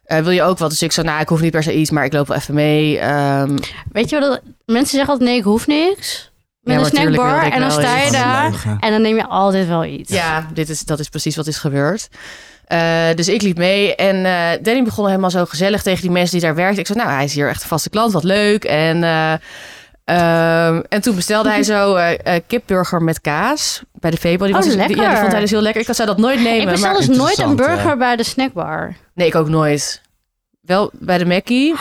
Speaker 1: Eh, wil je ook wat? Dus ik zei, nou, ik hoef niet per se iets, maar ik loop wel even mee. Ehm,
Speaker 2: Weet je wat? dat- Mensen zeggen altijd nee, ik hoef niks.
Speaker 1: Ja,
Speaker 2: Met een
Speaker 1: maar tuurlijk
Speaker 2: snackbar.
Speaker 1: wilde ik
Speaker 2: En dan
Speaker 1: wel
Speaker 2: sta je
Speaker 1: iets.
Speaker 2: daar.
Speaker 3: Leugen.
Speaker 2: En dan neem je altijd wel iets.
Speaker 1: Ja, dit is, dat is precies wat is gebeurd. Eh, dus ik liep mee en eh, Danny begon helemaal zo gezellig tegen die mensen die daar werkten. Ik zei, nou, hij is hier echt een vaste klant, wat leuk. En, eh, ehm, en toen bestelde hij zo eh eh, kipburger met kaas bij de Febo. Die,
Speaker 2: Oh,
Speaker 1: was dus- die- ja, die
Speaker 2: lekker.
Speaker 1: vond hij dus heel lekker. Ik zou dat nooit nemen.
Speaker 2: Ik bestel
Speaker 1: maar-
Speaker 2: dus nooit een
Speaker 3: interessant,
Speaker 2: burger
Speaker 3: hè?
Speaker 2: bij de snackbar.
Speaker 1: Nee, ik ook nooit. Wel bij de Mackie.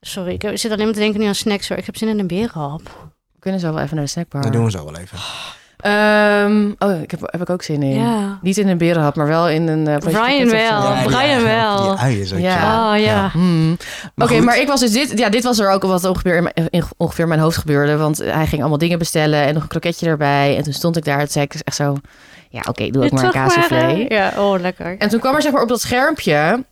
Speaker 2: Sorry, ik zit alleen maar te denken nu aan snacks hoor. Ik heb zin in een berenhap.
Speaker 1: We kunnen zo wel even naar de snackbar.
Speaker 3: Dat doen we zo wel even.
Speaker 1: Ehm, oh, ik heb, heb ik ook zin in.
Speaker 2: Ja.
Speaker 1: Niet in een berenhap, maar wel in een... eh, potje
Speaker 2: Brian
Speaker 1: kip of zo.
Speaker 2: wel.
Speaker 3: Ja,
Speaker 2: Brian
Speaker 3: ja,
Speaker 2: wel.
Speaker 3: Die uien zo.
Speaker 1: Ja.
Speaker 2: Oh ja.
Speaker 3: Ja.
Speaker 1: Hmm.
Speaker 3: Maar
Speaker 1: Oké,
Speaker 3: goed.
Speaker 1: maar ik was dus dit. Ja, dit was er ook wat ongeveer in, mijn- in ongeveer mijn hoofd gebeurde. Want eh, hij ging allemaal dingen bestellen en nog een kroketje erbij. En toen stond ik daar. en zei ik dus echt zo. Ja, oké, doe ook maar een
Speaker 2: Toch maar,
Speaker 1: kaassoufflé.
Speaker 2: eh, Ja, oh lekker.
Speaker 1: En toen kwam er zeg maar op dat schermpje.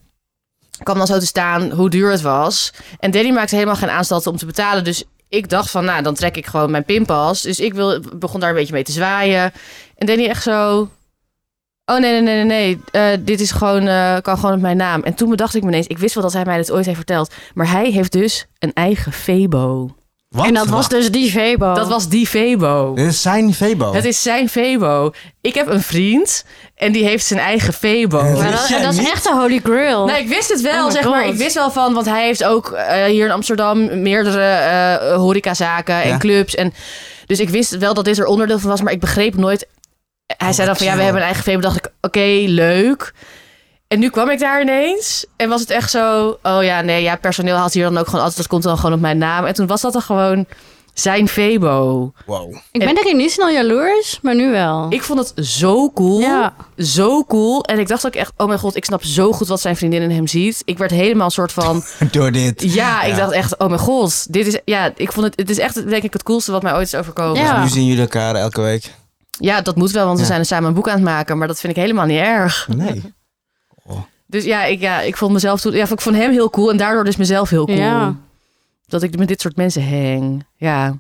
Speaker 1: kwam dan zo te staan hoe duur het was. En Danny maakte helemaal geen aanstalten om te betalen. Dus ik dacht van, nou, dan trek ik gewoon mijn pinpas. Dus ik wil, begon daar een beetje mee te zwaaien. En Danny echt zo... Oh, nee, nee, nee, nee, nee. Eh, dit is gewoon, eh, kan gewoon op mijn naam. En toen bedacht ik me ineens... Ik wist wel dat hij mij dit ooit heeft verteld. Maar hij heeft dus een eigen Febo.
Speaker 3: Wat?
Speaker 2: En dat was dus die Vebo.
Speaker 1: Dat was die Febo.
Speaker 3: Dit is zijn Febo.
Speaker 1: Het is zijn Febo. Ik heb een vriend en die heeft zijn eigen Febo.
Speaker 3: Ja,
Speaker 2: Maar dat,
Speaker 3: Wist jij
Speaker 2: dat is
Speaker 3: niet?
Speaker 2: echt de Holy Grail.
Speaker 1: Nee, ik wist het wel,
Speaker 2: Oh my
Speaker 1: zeg maar.
Speaker 2: God.
Speaker 1: Ik wist wel van, want hij heeft ook eh, hier in Amsterdam meerdere eh, horecazaken en
Speaker 3: Ja.
Speaker 1: clubs. En, dus ik wist wel dat dit er onderdeel van was, maar ik begreep nooit. Hij
Speaker 3: Oh,
Speaker 1: zei dan van, ja, we
Speaker 3: chill.
Speaker 1: hebben een eigen feest. dacht ik, oké, leuk. En nu kwam ik daar ineens en was het echt zo... Oh ja, nee, ja, personeel had hier dan ook gewoon altijd... Dat komt dan gewoon op mijn naam. En toen was dat dan gewoon zijn Febo.
Speaker 3: Wow.
Speaker 2: ik ben
Speaker 1: en-
Speaker 2: denk ik niet snel jaloers, maar nu wel.
Speaker 1: Ik vond het zo cool.
Speaker 2: Ja.
Speaker 1: Zo cool. En ik dacht ook echt, oh mijn god, ik snap zo goed wat zijn vriendin in hem ziet. Ik werd helemaal een soort van...
Speaker 3: Door dit.
Speaker 1: Ja, ik
Speaker 3: Ja.
Speaker 1: dacht echt, oh mijn god, dit is, ja, ik vond het, het is echt, denk ik, het coolste wat mij ooit is overkomen.
Speaker 2: Ja.
Speaker 3: Dus nu zien jullie elkaar elke week.
Speaker 1: Ja, dat moet wel, want we
Speaker 3: Ja.
Speaker 1: zijn er samen een boek aan het maken, maar dat vind ik helemaal niet erg.
Speaker 3: Nee.
Speaker 1: Dus ja, ik, ja, ik vond mezelf toen, ja, ik vond hem heel cool en daardoor dus mezelf heel cool.
Speaker 2: Ja.
Speaker 1: Dat ik met dit soort mensen hang. Ja.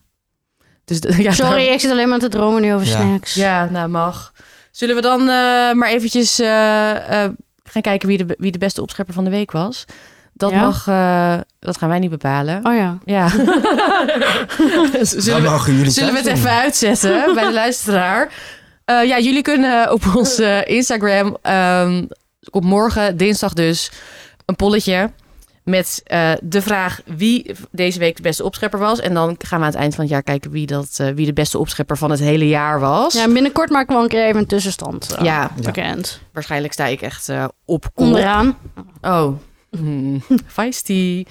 Speaker 1: Dus d- ja,
Speaker 2: Sorry, ik zit alleen maar te dromen nu over
Speaker 3: Ja.
Speaker 2: snacks.
Speaker 1: Ja, nou mag. Zullen we dan eh, maar eventjes eh, eh, gaan kijken wie de, wie de beste opschepper van de week was? Dat
Speaker 2: Ja.
Speaker 1: mag, eh, dat gaan wij niet bepalen.
Speaker 2: Oh ja.
Speaker 1: Ja. Zullen
Speaker 3: Dan
Speaker 1: we,
Speaker 3: mogen jullie
Speaker 1: Zullen we het
Speaker 3: zelf
Speaker 1: even uitzetten bij de luisteraar? Eh, ja, jullie kunnen op ons eh, Instagram ehm, op morgen, dinsdag dus, een polletje met eh, de vraag wie deze week de beste opschepper was. En dan gaan we aan het eind van het jaar kijken wie, dat, eh, wie de beste opschepper van het hele jaar was.
Speaker 2: Ja, binnenkort maken we wel een keer even een tussenstand eh,
Speaker 1: Ja,
Speaker 2: bekend.
Speaker 1: waarschijnlijk sta ik echt eh, op kop.
Speaker 2: Onderaan.
Speaker 1: Oh. Hmm, feisty.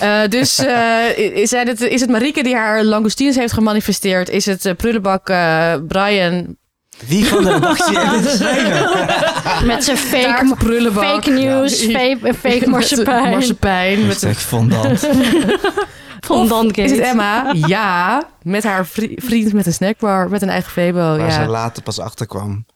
Speaker 1: Eh, dus eh, i- zijn het, is het Marieke die haar langoustines heeft gemanifesteerd? Is het eh, prullenbak eh, Brian?
Speaker 3: doen. Wie van de redactie heeft dit geschreven?
Speaker 2: Met zijn fake,
Speaker 1: Ah. Taart prullenbak.
Speaker 2: fake news,
Speaker 1: Ja.
Speaker 2: fake, fake
Speaker 1: Met de
Speaker 2: marsepein.
Speaker 1: marsepein, Met de,
Speaker 3: Stuk fondant.
Speaker 1: Oh,
Speaker 2: Van Dankate.
Speaker 1: is het Emma? Ja. Met haar vri- vriend met een snackbar. Met een eigen Febo.
Speaker 3: Waar ze
Speaker 1: Ja.
Speaker 3: later pas achterkwam.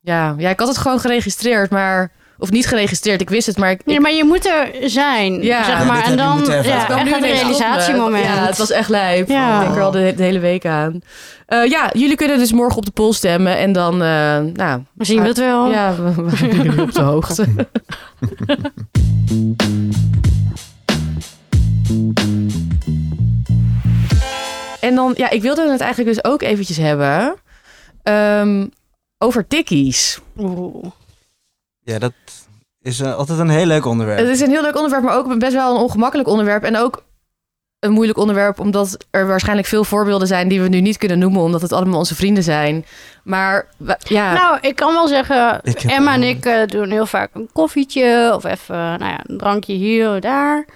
Speaker 1: Ja. ja, ik had het gewoon geregistreerd. Maar Of niet geregistreerd, ik wist het, maar... Ik,
Speaker 2: Nee, maar je moet er zijn,
Speaker 1: Ja.
Speaker 2: zeg
Speaker 1: Ja,
Speaker 2: maar.
Speaker 3: dit
Speaker 2: en
Speaker 3: heb je
Speaker 2: dan
Speaker 3: moeten ervaren.
Speaker 2: ja,
Speaker 3: Het kwam
Speaker 2: echt
Speaker 1: nu
Speaker 2: het
Speaker 1: ineens op me.
Speaker 2: realisatiemoment.
Speaker 1: Ja, het was echt lijp.
Speaker 2: Ja.
Speaker 1: Ik denk er al de, de hele week aan. Eh, ja, jullie kunnen dus morgen op de poll stemmen. En dan, eh, nou,
Speaker 2: We zien het wel.
Speaker 1: ja, we, we houden jullie op de hoogte. en dan, ja, ik wilde het eigenlijk dus ook eventjes hebben ehm, over tikkies.
Speaker 2: Oeh.
Speaker 3: Ja, dat is eh, altijd een heel leuk onderwerp.
Speaker 1: Het is een heel leuk onderwerp, maar ook best wel een ongemakkelijk onderwerp. En ook een moeilijk onderwerp, omdat er waarschijnlijk veel voorbeelden zijn die we nu niet kunnen noemen, omdat het allemaal onze vrienden zijn. Maar wa- ja,
Speaker 2: Nou, ik kan wel zeggen,
Speaker 3: Ik heb
Speaker 2: Emma en
Speaker 3: wel-
Speaker 2: ik eh, doen heel vaak een koffietje of even nou ja, een drankje hier of daar.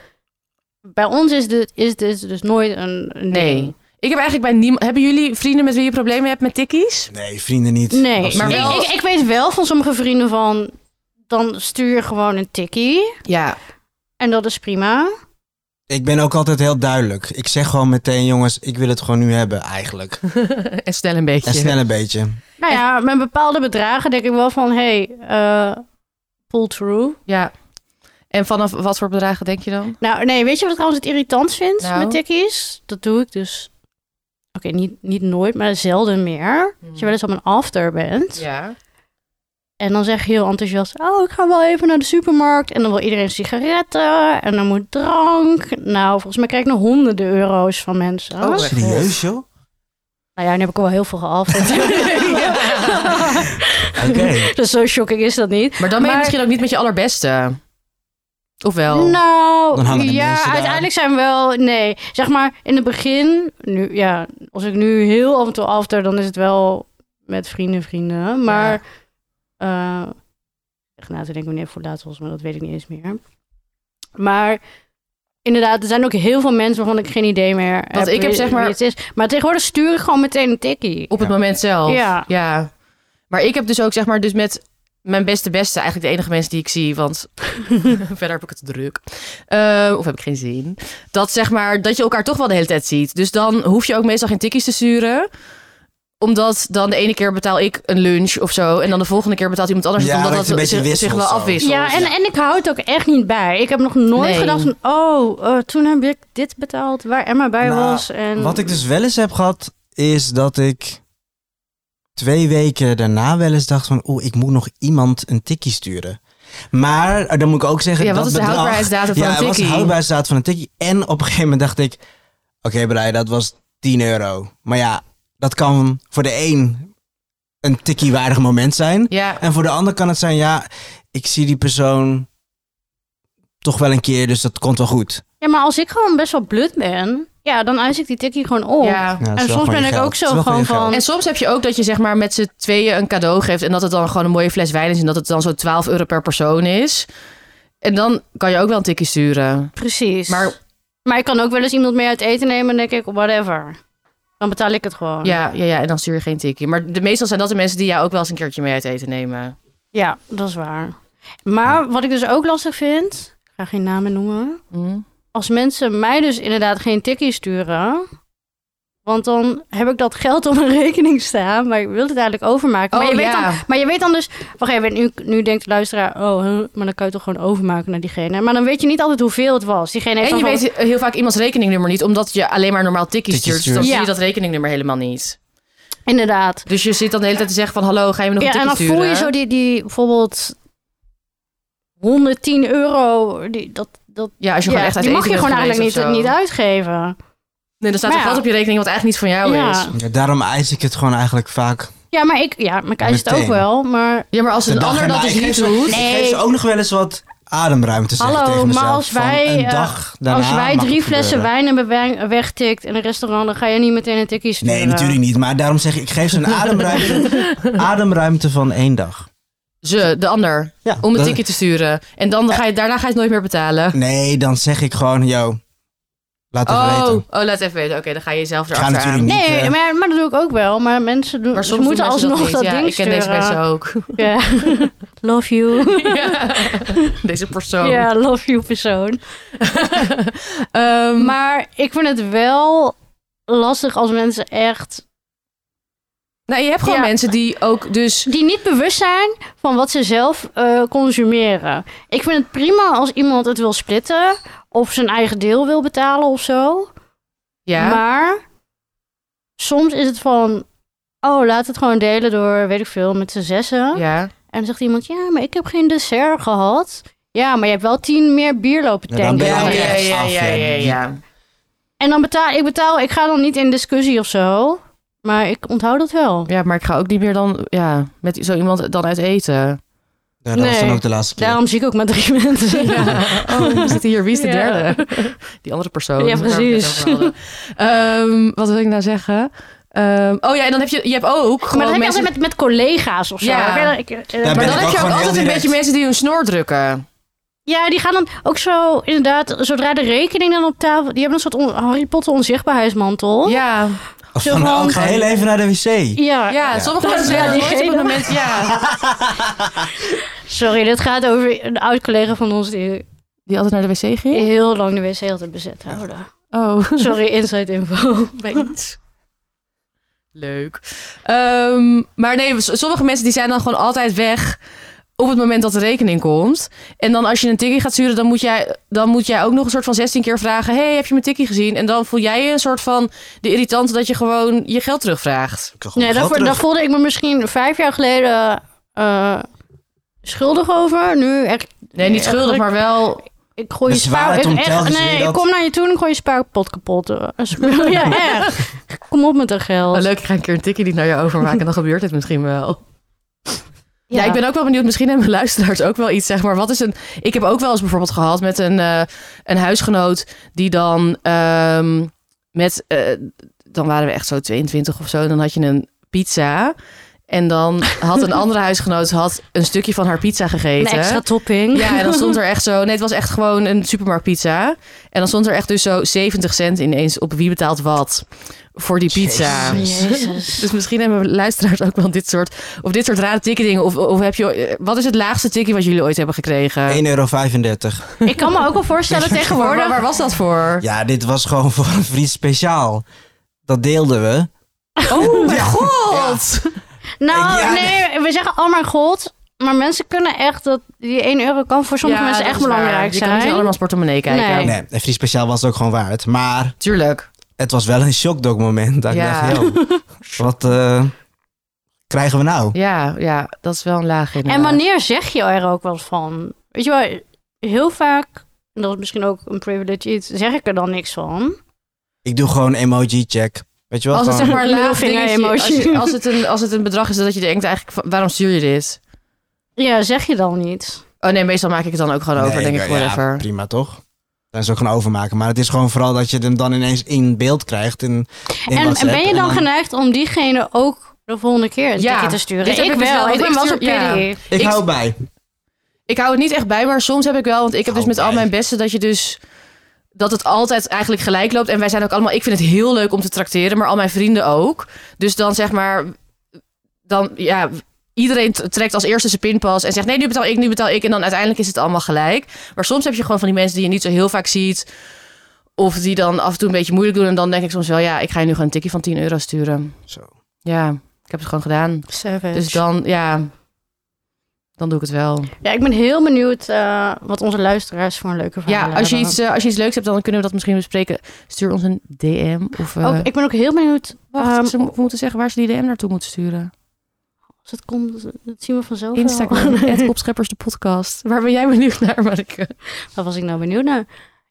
Speaker 2: Bij ons is dit, is dit dus nooit een, een
Speaker 1: nee.
Speaker 2: ding.
Speaker 1: Ik heb eigenlijk bij niemand. Hebben jullie vrienden met wie je problemen hebt met tikkies?
Speaker 3: Nee, vrienden niet.
Speaker 2: Nee,
Speaker 3: Absoluut
Speaker 2: maar
Speaker 1: wel-
Speaker 2: ik, ik, ik weet wel van sommige vrienden van, dan stuur je gewoon een tikkie
Speaker 1: Ja.
Speaker 2: en dat is prima.
Speaker 3: Ik ben ook altijd heel duidelijk. Ik zeg gewoon meteen, jongens, ik wil het gewoon nu hebben eigenlijk.
Speaker 1: en snel een beetje.
Speaker 3: En snel een beetje.
Speaker 2: Nou ja, met bepaalde bedragen denk ik wel van, hey, eh, pull through.
Speaker 1: Ja. En vanaf wat voor bedragen denk je dan?
Speaker 2: Nou, nee, weet je wat ik trouwens het irritant vind
Speaker 1: Nou?
Speaker 2: met tikkies? Dat doe ik dus. Oké, niet, niet nooit, maar zelden meer. Als je wel eens op een after bent.
Speaker 1: Mm. Ja.
Speaker 2: En dan zeg je heel enthousiast: Oh, ik ga wel even naar de supermarkt. En dan wil iedereen sigaretten. En dan moet drank. Nou, volgens mij krijg ik nog honderden euro's van mensen.
Speaker 1: Oh, echt?
Speaker 3: Serieus, joh?
Speaker 2: Nou ja, nu heb ik al wel heel veel geafd.
Speaker 3: Oké.
Speaker 2: dus zo shocking is dat niet.
Speaker 1: Maar dan ben je
Speaker 2: Maar-
Speaker 1: misschien ook niet met je allerbeste. Of wel?
Speaker 2: Nou,
Speaker 3: Dan hangen de
Speaker 2: ja,
Speaker 3: mensen daar.
Speaker 2: uiteindelijk zijn we wel. Nee, zeg maar in het begin. Nu, ja, als ik nu heel af en toe after, dan is het wel met vrienden, vrienden. Maar. eh echt na te denken wanneer het voor het laatst was, maar dat weet ik niet eens meer. Maar. Inderdaad, er zijn ook heel veel mensen waarvan ik geen idee meer heb.
Speaker 1: ik heb,
Speaker 2: wie-
Speaker 1: zeg maar-
Speaker 2: wie het is. Maar tegenwoordig stuur ik gewoon meteen een tikkie.
Speaker 1: Op het
Speaker 3: Ja.
Speaker 1: moment zelf.
Speaker 2: Ja.
Speaker 1: ja. Maar ik heb dus ook, zeg maar, dus met mijn beste beste eigenlijk de enige mensen die ik zie, want verder heb ik het druk. Eh, of heb ik geen zin. Dat zeg maar, dat je elkaar toch wel de hele tijd ziet. Dus dan hoef je ook meestal geen tikkies te sturen omdat dan de ene keer betaal ik een lunch of zo. En dan de volgende keer betaalt iemand anders. het,
Speaker 3: Ja,
Speaker 1: omdat
Speaker 3: dat het een beetje
Speaker 1: zich, zich
Speaker 3: wisselt
Speaker 1: wel
Speaker 3: zo.
Speaker 1: afwisselt.
Speaker 2: Ja, en, en ik hou het ook echt niet bij. Ik heb nog nooit
Speaker 1: Nee.
Speaker 2: gedacht van, oh, eh, toen heb ik dit betaald waar Emma bij
Speaker 3: Nou,
Speaker 2: was. En...
Speaker 3: Wat ik dus wel eens heb gehad, is dat ik twee weken daarna wel eens dacht van... oeh, ik moet nog iemand een tikkie sturen. Maar, eh, dan moet ik ook zeggen...
Speaker 1: Ja,
Speaker 3: dat
Speaker 1: wat is de
Speaker 3: bedrag-
Speaker 1: houdbaarheidsdatum van
Speaker 3: ja,
Speaker 1: een
Speaker 3: wat is de
Speaker 1: tikkie?
Speaker 3: houdbaarheidsdatum van een tikkie? En op een gegeven moment dacht ik... Oké, Brei, dat was 10 euro. Maar ja, dat kan voor de een een tikkie waardig moment zijn.
Speaker 1: Ja,
Speaker 3: En voor de ander kan het zijn, ja, ik zie die persoon toch wel een keer, dus dat komt wel goed.
Speaker 2: Ja, maar als ik gewoon best wel blut ben, ja, dan eis ik die tikkie gewoon op.
Speaker 1: ja.
Speaker 3: Ja, dat is
Speaker 2: En
Speaker 3: wel
Speaker 2: soms
Speaker 3: gewoon
Speaker 2: ben
Speaker 3: je
Speaker 2: ik
Speaker 3: geld.
Speaker 2: ook zo
Speaker 3: Het is wel
Speaker 2: gewoon
Speaker 3: je geld.
Speaker 2: van-
Speaker 1: En soms heb je ook dat je zeg maar met z'n tweeën een cadeau geeft en dat het dan gewoon een mooie fles wijn is en dat het dan zo 12 euro per persoon is. En dan kan je ook wel een tikkie sturen.
Speaker 2: Precies.
Speaker 1: Maar-
Speaker 2: Maar... maar ik kan ook wel eens iemand mee uit eten nemen en denk ik, whatever. Dan betaal ik het gewoon.
Speaker 1: Ja, ja, ja en dan stuur je geen tikkie. Maar de, meestal zijn dat de mensen die jou ook wel eens een keertje mee uit eten nemen.
Speaker 2: Ja, dat is waar. Maar wat ik dus ook lastig vind, ik ga geen namen noemen.
Speaker 1: Hm?
Speaker 2: Als mensen mij dus inderdaad geen tikkie sturen, want dan heb ik dat geld op mijn rekening staan, maar ik wil het eigenlijk overmaken. maar
Speaker 1: Oh,
Speaker 2: je weet
Speaker 1: ja.
Speaker 2: dan Maar je weet dan dus... Wacht even, nu, nu denkt de luisteraar... Oh, huh, maar dan kan je toch gewoon overmaken naar diegene. Maar dan weet je niet altijd hoeveel het was. Diegene heeft
Speaker 1: En je
Speaker 2: dan
Speaker 1: weet heel vaak iemands rekeningnummer niet, omdat je alleen maar normaal tikkie
Speaker 3: Tikkies
Speaker 1: stuurt. Dus dan
Speaker 3: stuurt.
Speaker 1: zie je
Speaker 2: Ja.
Speaker 1: dat rekeningnummer helemaal niet.
Speaker 2: van- Inderdaad.
Speaker 1: Dus je zit dan de hele tijd te zeggen van hallo, ga je me nog
Speaker 2: Ja,
Speaker 1: een
Speaker 2: en
Speaker 1: tikkie
Speaker 2: dan
Speaker 1: sturen?
Speaker 2: voel je zo die, die bijvoorbeeld... 110 euro, die, dat, dat
Speaker 1: Ja, als je
Speaker 2: ja,
Speaker 1: gewoon echt uit
Speaker 2: die mag
Speaker 1: eten
Speaker 2: je
Speaker 1: bent
Speaker 2: gewoon
Speaker 1: geweest
Speaker 2: eigenlijk niet,
Speaker 1: of zo.
Speaker 2: niet uitgeven.
Speaker 1: Nee, dan staat er
Speaker 2: Maar ja.
Speaker 1: geld op je rekening wat eigenlijk niet van jou
Speaker 2: Ja.
Speaker 1: is.
Speaker 3: Ja, daarom eis ik het gewoon eigenlijk vaak.
Speaker 2: Ja, maar ik, ja, maar ik eis het ook
Speaker 3: Meteen.
Speaker 2: wel. Maar
Speaker 1: Ja, maar als
Speaker 3: De
Speaker 1: een
Speaker 3: dag
Speaker 1: ander dat
Speaker 3: erna.
Speaker 1: dus
Speaker 3: Ik
Speaker 1: niet
Speaker 3: geef
Speaker 1: doet...
Speaker 3: Ik
Speaker 2: Nee.
Speaker 3: geef ze ook nog wel eens wat ademruimte zeggen
Speaker 2: Hallo,
Speaker 3: tegen mezelf.
Speaker 2: maar als
Speaker 3: van
Speaker 2: wij,
Speaker 3: een
Speaker 2: eh,
Speaker 3: dag daarna
Speaker 2: als wij
Speaker 3: mag
Speaker 2: drie
Speaker 3: het
Speaker 2: flessen
Speaker 3: gebeuren.
Speaker 2: wijn hebben we- wegtikt in een restaurant, dan ga je niet meteen een tikkie sturen.
Speaker 3: Nee, natuurlijk niet. Maar daarom zeg ik, ik geef ze een ademruimte, ademruimte van één dag.
Speaker 1: Ze, de ander.
Speaker 3: Ja,
Speaker 1: Om een
Speaker 3: dat-
Speaker 1: ticket te sturen. En dan
Speaker 2: Eh.
Speaker 1: ga je, daarna ga je het nooit meer betalen.
Speaker 3: Nee, dan zeg ik gewoon, yo, laat het
Speaker 1: Oh,
Speaker 3: weten.
Speaker 1: oh, laat even weten. Oké, dan ga je jezelf
Speaker 3: Ik ga
Speaker 1: erachter
Speaker 3: natuurlijk
Speaker 1: aan.
Speaker 3: niet...
Speaker 2: Nee,
Speaker 3: eh,
Speaker 2: maar, maar dat doe ik ook wel. Maar mensen doen,
Speaker 1: Maar
Speaker 2: ze
Speaker 1: soms doen
Speaker 2: moeten
Speaker 1: mensen
Speaker 2: alsnog
Speaker 1: niet.
Speaker 2: dat
Speaker 1: ja,
Speaker 2: ding
Speaker 1: Ik ken deze
Speaker 2: sturen.
Speaker 1: mensen ook.
Speaker 2: Ja. Love you.
Speaker 1: Ja. Deze persoon.
Speaker 2: Ja, love you persoon.
Speaker 1: Ehm,
Speaker 2: Maar ik vind het wel lastig als mensen echt
Speaker 1: Nou, je hebt gewoon
Speaker 2: Ja.
Speaker 1: mensen die ook dus...
Speaker 2: Die niet bewust zijn van wat ze zelf eh, consumeren. Ik vind het prima als iemand het wil splitten. Of zijn eigen deel wil betalen of zo.
Speaker 1: Ja,
Speaker 2: Maar soms is het van... Oh, laat het gewoon delen door, weet ik veel, met z'n zessen.
Speaker 1: ja.
Speaker 2: En dan zegt iemand, ja, maar ik heb geen dessert gehad. Ja, maar je hebt wel tien meer bier lopen
Speaker 3: Ja, dan
Speaker 2: tanken.
Speaker 3: ben je
Speaker 1: Ja,
Speaker 3: ook
Speaker 1: ja,
Speaker 3: ergens
Speaker 1: ja,
Speaker 3: af,
Speaker 1: ja,
Speaker 3: hè.
Speaker 1: ja, ja.
Speaker 2: En dan betaal ik, betaal, ik ga dan niet in discussie of zo. Maar ik onthoud dat wel.
Speaker 1: Ja, maar ik ga ook niet meer dan ja, met zo iemand dan uit eten.
Speaker 3: Ja, dat was
Speaker 2: Nee.
Speaker 3: dan ook de laatste keer.
Speaker 2: Daarom zie ik ook maar drie mensen.
Speaker 1: Oh, we zitten hier. Wie is de
Speaker 2: Ja.
Speaker 1: derde? Die andere persoon.
Speaker 2: Ja,
Speaker 1: waar we het
Speaker 2: precies.
Speaker 1: net over hadden. Ehm, wat wil ik nou zeggen? Ehm, oh ja, en dan heb je, je hebt ook gewoon
Speaker 2: maar dat heb je
Speaker 1: mensen...
Speaker 2: altijd met, met collega's of zo.
Speaker 1: Ja.
Speaker 2: Ik weet dat ik- eh,
Speaker 3: Ja,
Speaker 2: maar
Speaker 1: Maar dan
Speaker 3: Ben ik
Speaker 1: heb
Speaker 3: ook
Speaker 1: je ook
Speaker 3: gewoon
Speaker 1: altijd
Speaker 3: heel
Speaker 1: een
Speaker 3: direct.
Speaker 1: beetje mensen die hun snor drukken.
Speaker 2: ja, die gaan dan ook zo, inderdaad, zodra de rekening dan op tafel... Die hebben een soort on- oh, Harry Potter onzichtbaarheidsmantel.
Speaker 1: Ja,
Speaker 3: Of
Speaker 2: Zo
Speaker 3: van,
Speaker 2: van-
Speaker 3: oh, ik ga heel even naar de wc.
Speaker 2: Ja.
Speaker 1: ja, sommige
Speaker 2: Ja.
Speaker 1: mensen zeggen
Speaker 2: Ja,
Speaker 1: nooit op het
Speaker 2: diegene.
Speaker 1: moment... Ja,
Speaker 2: Sorry, dit gaat over een oud-collega van ons die
Speaker 1: die altijd naar de wc ging?
Speaker 2: heel lang de wc altijd bezet houden.
Speaker 1: Oh,
Speaker 2: Sorry, inside info.
Speaker 1: bij iets. Leuk. Ehm, maar nee, s- sommige mensen die zijn dan gewoon altijd weg op het moment dat de rekening komt. En dan als je een tikkie gaat sturen, dan moet jij, dan moet jij ook nog een soort van 16 keer vragen... hey, heb je mijn tikkie gezien? En dan voel jij je een soort van de irritante dat je gewoon je geld terugvraagt.
Speaker 3: Ik kan gewoon
Speaker 2: Nee,
Speaker 3: geld
Speaker 2: daarvoor,
Speaker 3: terug.
Speaker 2: daar voelde ik me misschien vijf jaar geleden eh, schuldig over. Nu echt...
Speaker 1: Nee, niet
Speaker 2: echt,
Speaker 1: schuldig,
Speaker 2: ik-
Speaker 1: maar wel...
Speaker 2: Ik gooi
Speaker 3: De
Speaker 2: je spaar...
Speaker 3: zwaarheid
Speaker 2: Ik,
Speaker 3: om
Speaker 2: echt-
Speaker 3: telkens
Speaker 2: nee,
Speaker 3: weer
Speaker 2: ik
Speaker 3: dat-
Speaker 2: kom naar je toe en ik gooi je spaarpot kapot. eh. ja, echt. Kom op met dat geld.
Speaker 1: Oh, leuk, ik ga een keer een tikkie niet naar je overmaken en dan gebeurt het misschien wel. Ja. ik ben ook wel benieuwd. Misschien hebben luisteraars ook wel iets, zeg maar. Wat is een... Ik heb ook wel eens bijvoorbeeld gehad met een, eh, een huisgenoot die dan ehm, met... eh, dan waren we echt zo 22 of zo. En dan had je een pizza. En dan had een andere huisgenoot had een stukje van haar pizza
Speaker 2: Een
Speaker 1: gegeten.
Speaker 2: extra topping. Oh,
Speaker 1: Ja, en dan stond er echt zo... Nee, het was echt gewoon een supermarktpizza. En dan stond er echt dus zo 70 cent ineens op wie betaalt wat voor die pizza.
Speaker 3: Jezus.
Speaker 2: Jezus.
Speaker 1: Dus misschien hebben luisteraars ook wel dit soort, of dit soort rare tikkerdingen. Of, of heb je, eh, wat is het laagste tikkie wat jullie ooit hebben gekregen?
Speaker 3: 1,35 euro.
Speaker 2: Ik kan me ook wel voorstellen
Speaker 1: Waar, waar,
Speaker 2: tegenwoordig...
Speaker 1: waar was dat voor?
Speaker 3: Ja, dit was gewoon voor een vriend speciaal. Dat deelden we.
Speaker 1: Oh mijn
Speaker 3: Ja.
Speaker 1: god!
Speaker 2: Nou,
Speaker 3: Ja,
Speaker 2: nee, we zeggen oh mijn god. Maar mensen kunnen echt dat... Die 1 euro kan voor sommige
Speaker 1: Ja,
Speaker 2: mensen
Speaker 1: dat
Speaker 2: echt
Speaker 1: is waar.
Speaker 2: belangrijk
Speaker 1: Je kan niet
Speaker 2: zijn.
Speaker 1: allemaal als portemonnee kijken.
Speaker 2: Nee.
Speaker 3: Nee, een vriend speciaal was het ook gewoon waard. Maar
Speaker 1: Tuurlijk.
Speaker 3: het was wel een shockdog moment. Dat
Speaker 1: Ja.
Speaker 3: ik dacht, joh, wat eh, krijgen we nou?
Speaker 1: Ja, ja, dat is wel een laag inderdaad.
Speaker 2: En wanneer zeg je er ook wel van? Weet je wel, heel vaak... En dat is misschien ook een privilege iets. Zeg ik er dan niks van?
Speaker 3: Ik doe gewoon emoji check. Weet je wel?
Speaker 1: Als het
Speaker 3: gewoon-
Speaker 1: zeg maar een laag
Speaker 2: Middelvinger
Speaker 1: dingetje- als,
Speaker 2: emoji.
Speaker 1: je- als, het een, als het een bedrag is dat je denkt eigenlijk, van, waarom stuur je dit?
Speaker 2: Ja, zeg je dan niet.
Speaker 1: Oh nee, meestal maak ik het dan ook gewoon over,
Speaker 3: Nee,
Speaker 1: denk ik,
Speaker 3: ja,
Speaker 1: whatever.
Speaker 3: prima toch? Dan is ook gaan overmaken. Maar het is gewoon vooral dat je hem dan ineens in beeld krijgt. In, in
Speaker 2: En, en
Speaker 3: WhatsApp.
Speaker 2: ben je dan
Speaker 3: En
Speaker 2: geneigd om diegene ook de volgende keer een
Speaker 1: Ja,
Speaker 2: tikje te sturen?
Speaker 1: dit heb
Speaker 2: ik
Speaker 1: ik dus wel,
Speaker 2: wel.
Speaker 1: want
Speaker 2: Ik ben
Speaker 1: ik
Speaker 2: wel zo'n
Speaker 1: stuur- ja.
Speaker 2: pity.
Speaker 3: Ik,
Speaker 1: Ik-
Speaker 3: hou bij.
Speaker 1: Ik hou het niet echt bij, maar soms heb ik wel. Want ik heb dus
Speaker 3: Hou
Speaker 1: met al
Speaker 3: bij.
Speaker 1: mijn beste dat je dus. Dat het altijd eigenlijk gelijk loopt. En wij zijn ook allemaal. Ik vind het heel leuk om te tracteren, maar al mijn vrienden ook. Dus dan zeg maar. Dan ja. Iedereen t- trekt als eerste zijn pinpas en zegt: nee, nu betaal ik, nu betaal ik. En dan uiteindelijk is het allemaal gelijk. Maar soms heb je gewoon van die mensen die je niet zo heel vaak ziet. Of die dan af en toe een beetje moeilijk doen. En dan denk ik soms wel: ja, ik ga je nu gewoon een tikje van 10 euro sturen.
Speaker 3: Zo.
Speaker 1: Ja, ik heb het gewoon gedaan.
Speaker 2: Savage.
Speaker 1: Dus dan, ja. Dan doe ik het wel.
Speaker 2: Ja, ik ben heel benieuwd eh, wat onze luisteraars voor een leuke verhaal
Speaker 1: Ja,
Speaker 2: hebben.
Speaker 1: als je, iets, eh, als je iets leuks hebt, dan kunnen we dat misschien bespreken. Stuur ons een DM. Of, eh,
Speaker 2: Ook, ik ben ook heel benieuwd.
Speaker 1: wacht,
Speaker 2: ehm,
Speaker 1: ze mo- we moeten zeggen waar ze die DM naartoe moeten sturen.
Speaker 2: als het komt, dat zien we vanzelf wel.
Speaker 1: Instagram, het Opscheppers de podcast. Waar ben jij benieuwd naar, Marike?
Speaker 2: Daar was ik nou benieuwd naar.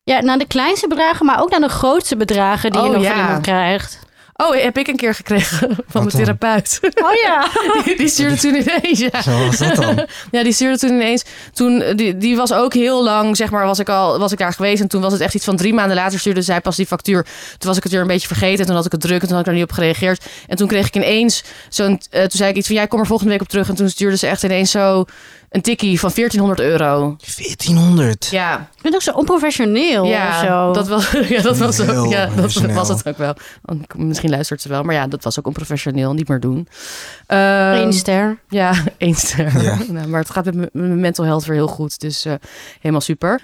Speaker 2: Ja, naar de kleinste bedragen, maar ook naar de grootste bedragen die
Speaker 1: Oh,
Speaker 2: je nog
Speaker 1: ja.
Speaker 2: van iemand krijgt.
Speaker 1: Oh, heb ik een keer gekregen van mijn
Speaker 3: dan?
Speaker 1: therapeut.
Speaker 2: Oh ja.
Speaker 1: Die, die stuurde toen ineens, ja.
Speaker 3: Zo was dat dan.
Speaker 1: Ja, die stuurde toen ineens. Toen, eh, die, die was ook heel lang, zeg maar, was ik, al, was ik daar geweest. En toen was het echt iets van drie maanden later stuurde zij pas die factuur. Toen was ik het weer een beetje vergeten. En toen had ik het druk en toen had ik er niet op gereageerd. En toen kreeg ik ineens zo'n... eh, toen zei ik iets van, jij kom er volgende week op terug. En toen stuurde ze echt ineens zo een tikkie van 1400 euro.
Speaker 3: 1400.
Speaker 1: Ja,
Speaker 2: Ik vind het ook zo onprofessioneel of
Speaker 1: ja
Speaker 2: Oh, zo.
Speaker 1: dat was, ja, dat was, ook,
Speaker 3: Heel
Speaker 1: ja, dat
Speaker 3: professioneel.
Speaker 1: was het ook wel. Want Misschien luistert ze wel, maar ja, dat was ook onprofessioneel. Niet meer doen.
Speaker 2: Eén
Speaker 1: Ehm,
Speaker 2: ster.
Speaker 1: ja, één ster.
Speaker 3: Ja.
Speaker 1: Nou, maar het gaat met m- mijn mental health weer heel goed. Dus eh, helemaal super.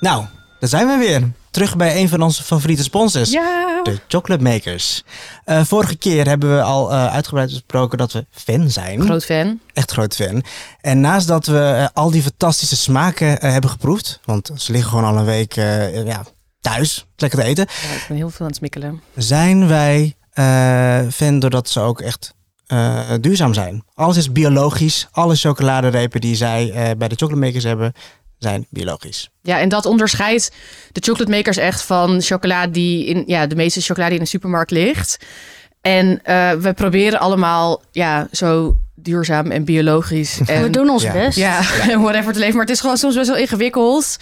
Speaker 3: Nou, daar zijn we weer. terug bij een van onze favoriete sponsors.
Speaker 2: Ja.
Speaker 3: De Chocolate Makers. Eh, vorige keer hebben we al eh, uitgebreid besproken dat we fan zijn.
Speaker 1: Groot fan.
Speaker 3: Echt groot fan. En naast dat we eh, al die fantastische smaken eh, hebben geproefd, want ze liggen gewoon al een week eh, ja, thuis, lekker te eten,
Speaker 1: Ja, ik ben heel veel aan het smikkelen.
Speaker 3: zijn wij eh, fan doordat ze ook echt eh, duurzaam zijn. Alles is biologisch. Alle chocoladerepen die zij eh, bij de Chocolate Makers hebben, zijn biologisch.
Speaker 1: Ja, en dat onderscheidt de chocolate makers echt van chocola die in ja, de meeste chocolade die in de supermarkt ligt. En eh, we proberen allemaal ja, zo duurzaam en biologisch. En,
Speaker 2: We doen ons
Speaker 3: Ja.
Speaker 2: best.
Speaker 1: Ja, whatever te leven. Maar het is gewoon soms best wel ingewikkeld.